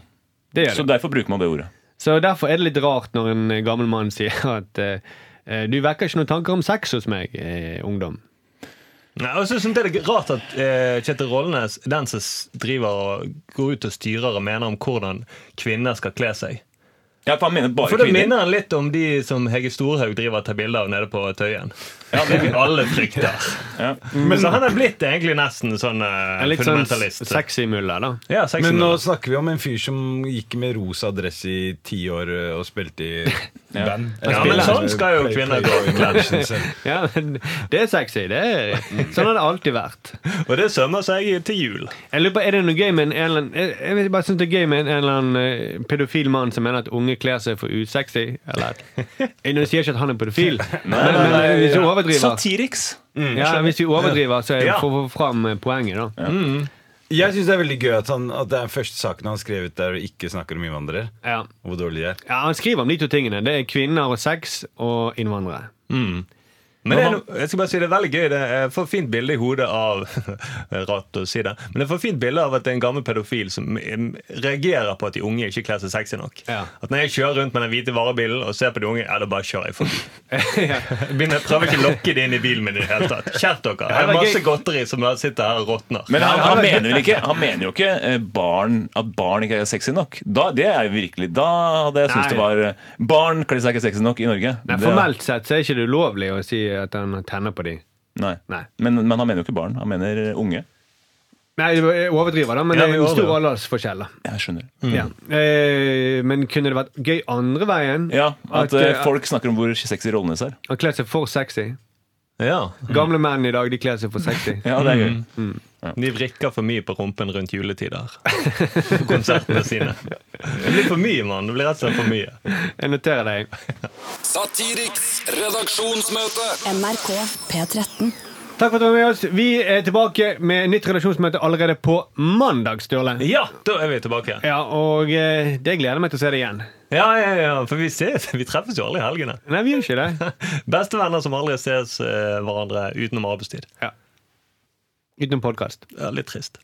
Speaker 3: Det gjør
Speaker 2: Så
Speaker 3: det.
Speaker 2: derfor bruker man det ordet.
Speaker 3: Så derfor er det litt rart når en eh, gammel mann sier at eh, eh, du vekker ikke noen tanker om sex hos meg, eh, ungdom.
Speaker 7: Nei, og så synes jeg det er rart at eh, Kjetil Rollnes den som s- driver og går ut og styrer og mener om hvordan kvinner skal kle seg.
Speaker 2: Ja, for han mener bare
Speaker 7: For det
Speaker 2: kvinner.
Speaker 7: minner han litt om de som Hege Storhaug driver og tar bilder av nede på Tøyen.
Speaker 2: Ja,
Speaker 7: Det
Speaker 2: det-
Speaker 7: vi alle frykter.
Speaker 2: Ja.
Speaker 7: Men så han er blitt egentlig nesten sånn eh,
Speaker 3: En litt sånn
Speaker 7: fundamentalist.
Speaker 3: sexy mulla, da.
Speaker 7: ja, sexy
Speaker 4: Men nå
Speaker 7: mulla.
Speaker 4: snakker vi om en fyr som gikk med rosa dress i ti år ø, og spilte i band.
Speaker 7: Ja, men sånn skal jo kvinner gå.
Speaker 3: Ja, men Det er sexy. det er Sånn har det alltid vært.
Speaker 7: Og det sømmer seg til jul.
Speaker 3: Jeg lurer på, Er det noe gøy med en, eller annen Jeg, jeg vet, bare synes det er gøy med en, en eller annen eh, pedofil mann som mener at unge kler seg for usexy? Eller at Jeg nå sier jeg ikke at han er pedofil, men, men eh, hvis vi overdriver Mm,
Speaker 2: Satiriks.
Speaker 3: Ja, hvis vi overdriver, så er det
Speaker 7: Ja.
Speaker 3: for å få fram eh, poenget, da.
Speaker 4: Jeg syns det er veldig gøy at, han, at det er første saken han skrev ut der og ikke snakker om innvandrere.
Speaker 3: Ja.
Speaker 4: Og Hvor dårlig de er.
Speaker 3: ja, Han skriver om de to tingene. Det er kvinner og sex og innvandrere.
Speaker 7: Men det er, no- jeg skal bare si det er veldig gøy. Det er- Jeg får fint bilde i hodet av Rart å si det. Men jeg får fint bilde av at det er en gammel pedofil som mm, reagerer på at de unge ikke kler seg sexy nok.
Speaker 3: Ja.
Speaker 7: At når jeg kjører rundt med den hvite varebilen og ser på de unge, ja, da bare kjører jeg forbi.
Speaker 3: ja.
Speaker 7: Jeg begynner- prøver ikke å lokke det inn i bilen min i det hele tatt. Skjerp dere. Jeg har
Speaker 3: det er
Speaker 7: masse
Speaker 3: gøy.
Speaker 7: godteri som bare sitter her og råtner.
Speaker 2: Men han, han, mener vel ikke, han mener jo ikke eh, barn, at barn ikke er sexy nok. Da, det er jo virkelig, da hadde jeg syntes
Speaker 3: Nei.
Speaker 2: det var eh, Barn kler seg ikke sexy nok i Norge.
Speaker 3: Nei,
Speaker 2: Det-
Speaker 3: formelt sett så er ikke det ulovlig å si at han tenner på de.
Speaker 2: Nei.
Speaker 3: Nei.
Speaker 2: Men, men han mener jo ikke barn. Han mener eh, unge.
Speaker 3: Nei, jeg overdriver, da, men
Speaker 7: Ja,
Speaker 3: det
Speaker 7: vi
Speaker 3: er en stor
Speaker 7: overdriver.
Speaker 3: aldersforskjell. da.
Speaker 2: Jeg skjønner.
Speaker 3: Ja. Eh, men kunne det vært gøy andre veien?
Speaker 2: Ja, At eh,
Speaker 3: eh,
Speaker 2: folk snakker om hvor sexy Rollnes er.
Speaker 3: Han kler seg for sexy.
Speaker 7: Ja,
Speaker 3: Gamle menn i dag de kler seg for sexy.
Speaker 2: Ja, det er gøy.
Speaker 7: De vrikker for mye på rumpen rundt juletider. På konsertene sine. Det blir for mye, mann. Det blir rett og slett for mye.
Speaker 3: Jeg noterer deg.
Speaker 5: Satiriks redaksjonsmøte.
Speaker 6: NRK P13.
Speaker 3: Takk for at du var med oss. Vi er tilbake med nytt redaksjonsmøte allerede på mandag, Sturle.
Speaker 7: Ja, da er vi tilbake.
Speaker 3: Ja, og eh, det gleder jeg meg til å se deg igjen.
Speaker 7: Ja, ja, ja, for vi ses. Vi treffes jo aldri i helgene.
Speaker 3: Nei, vi gjør ikke det.
Speaker 7: Bestevenner som aldri ses eh, hverandre utenom arbeidstid.
Speaker 3: Utenom podkast.
Speaker 7: Ja, litt trist.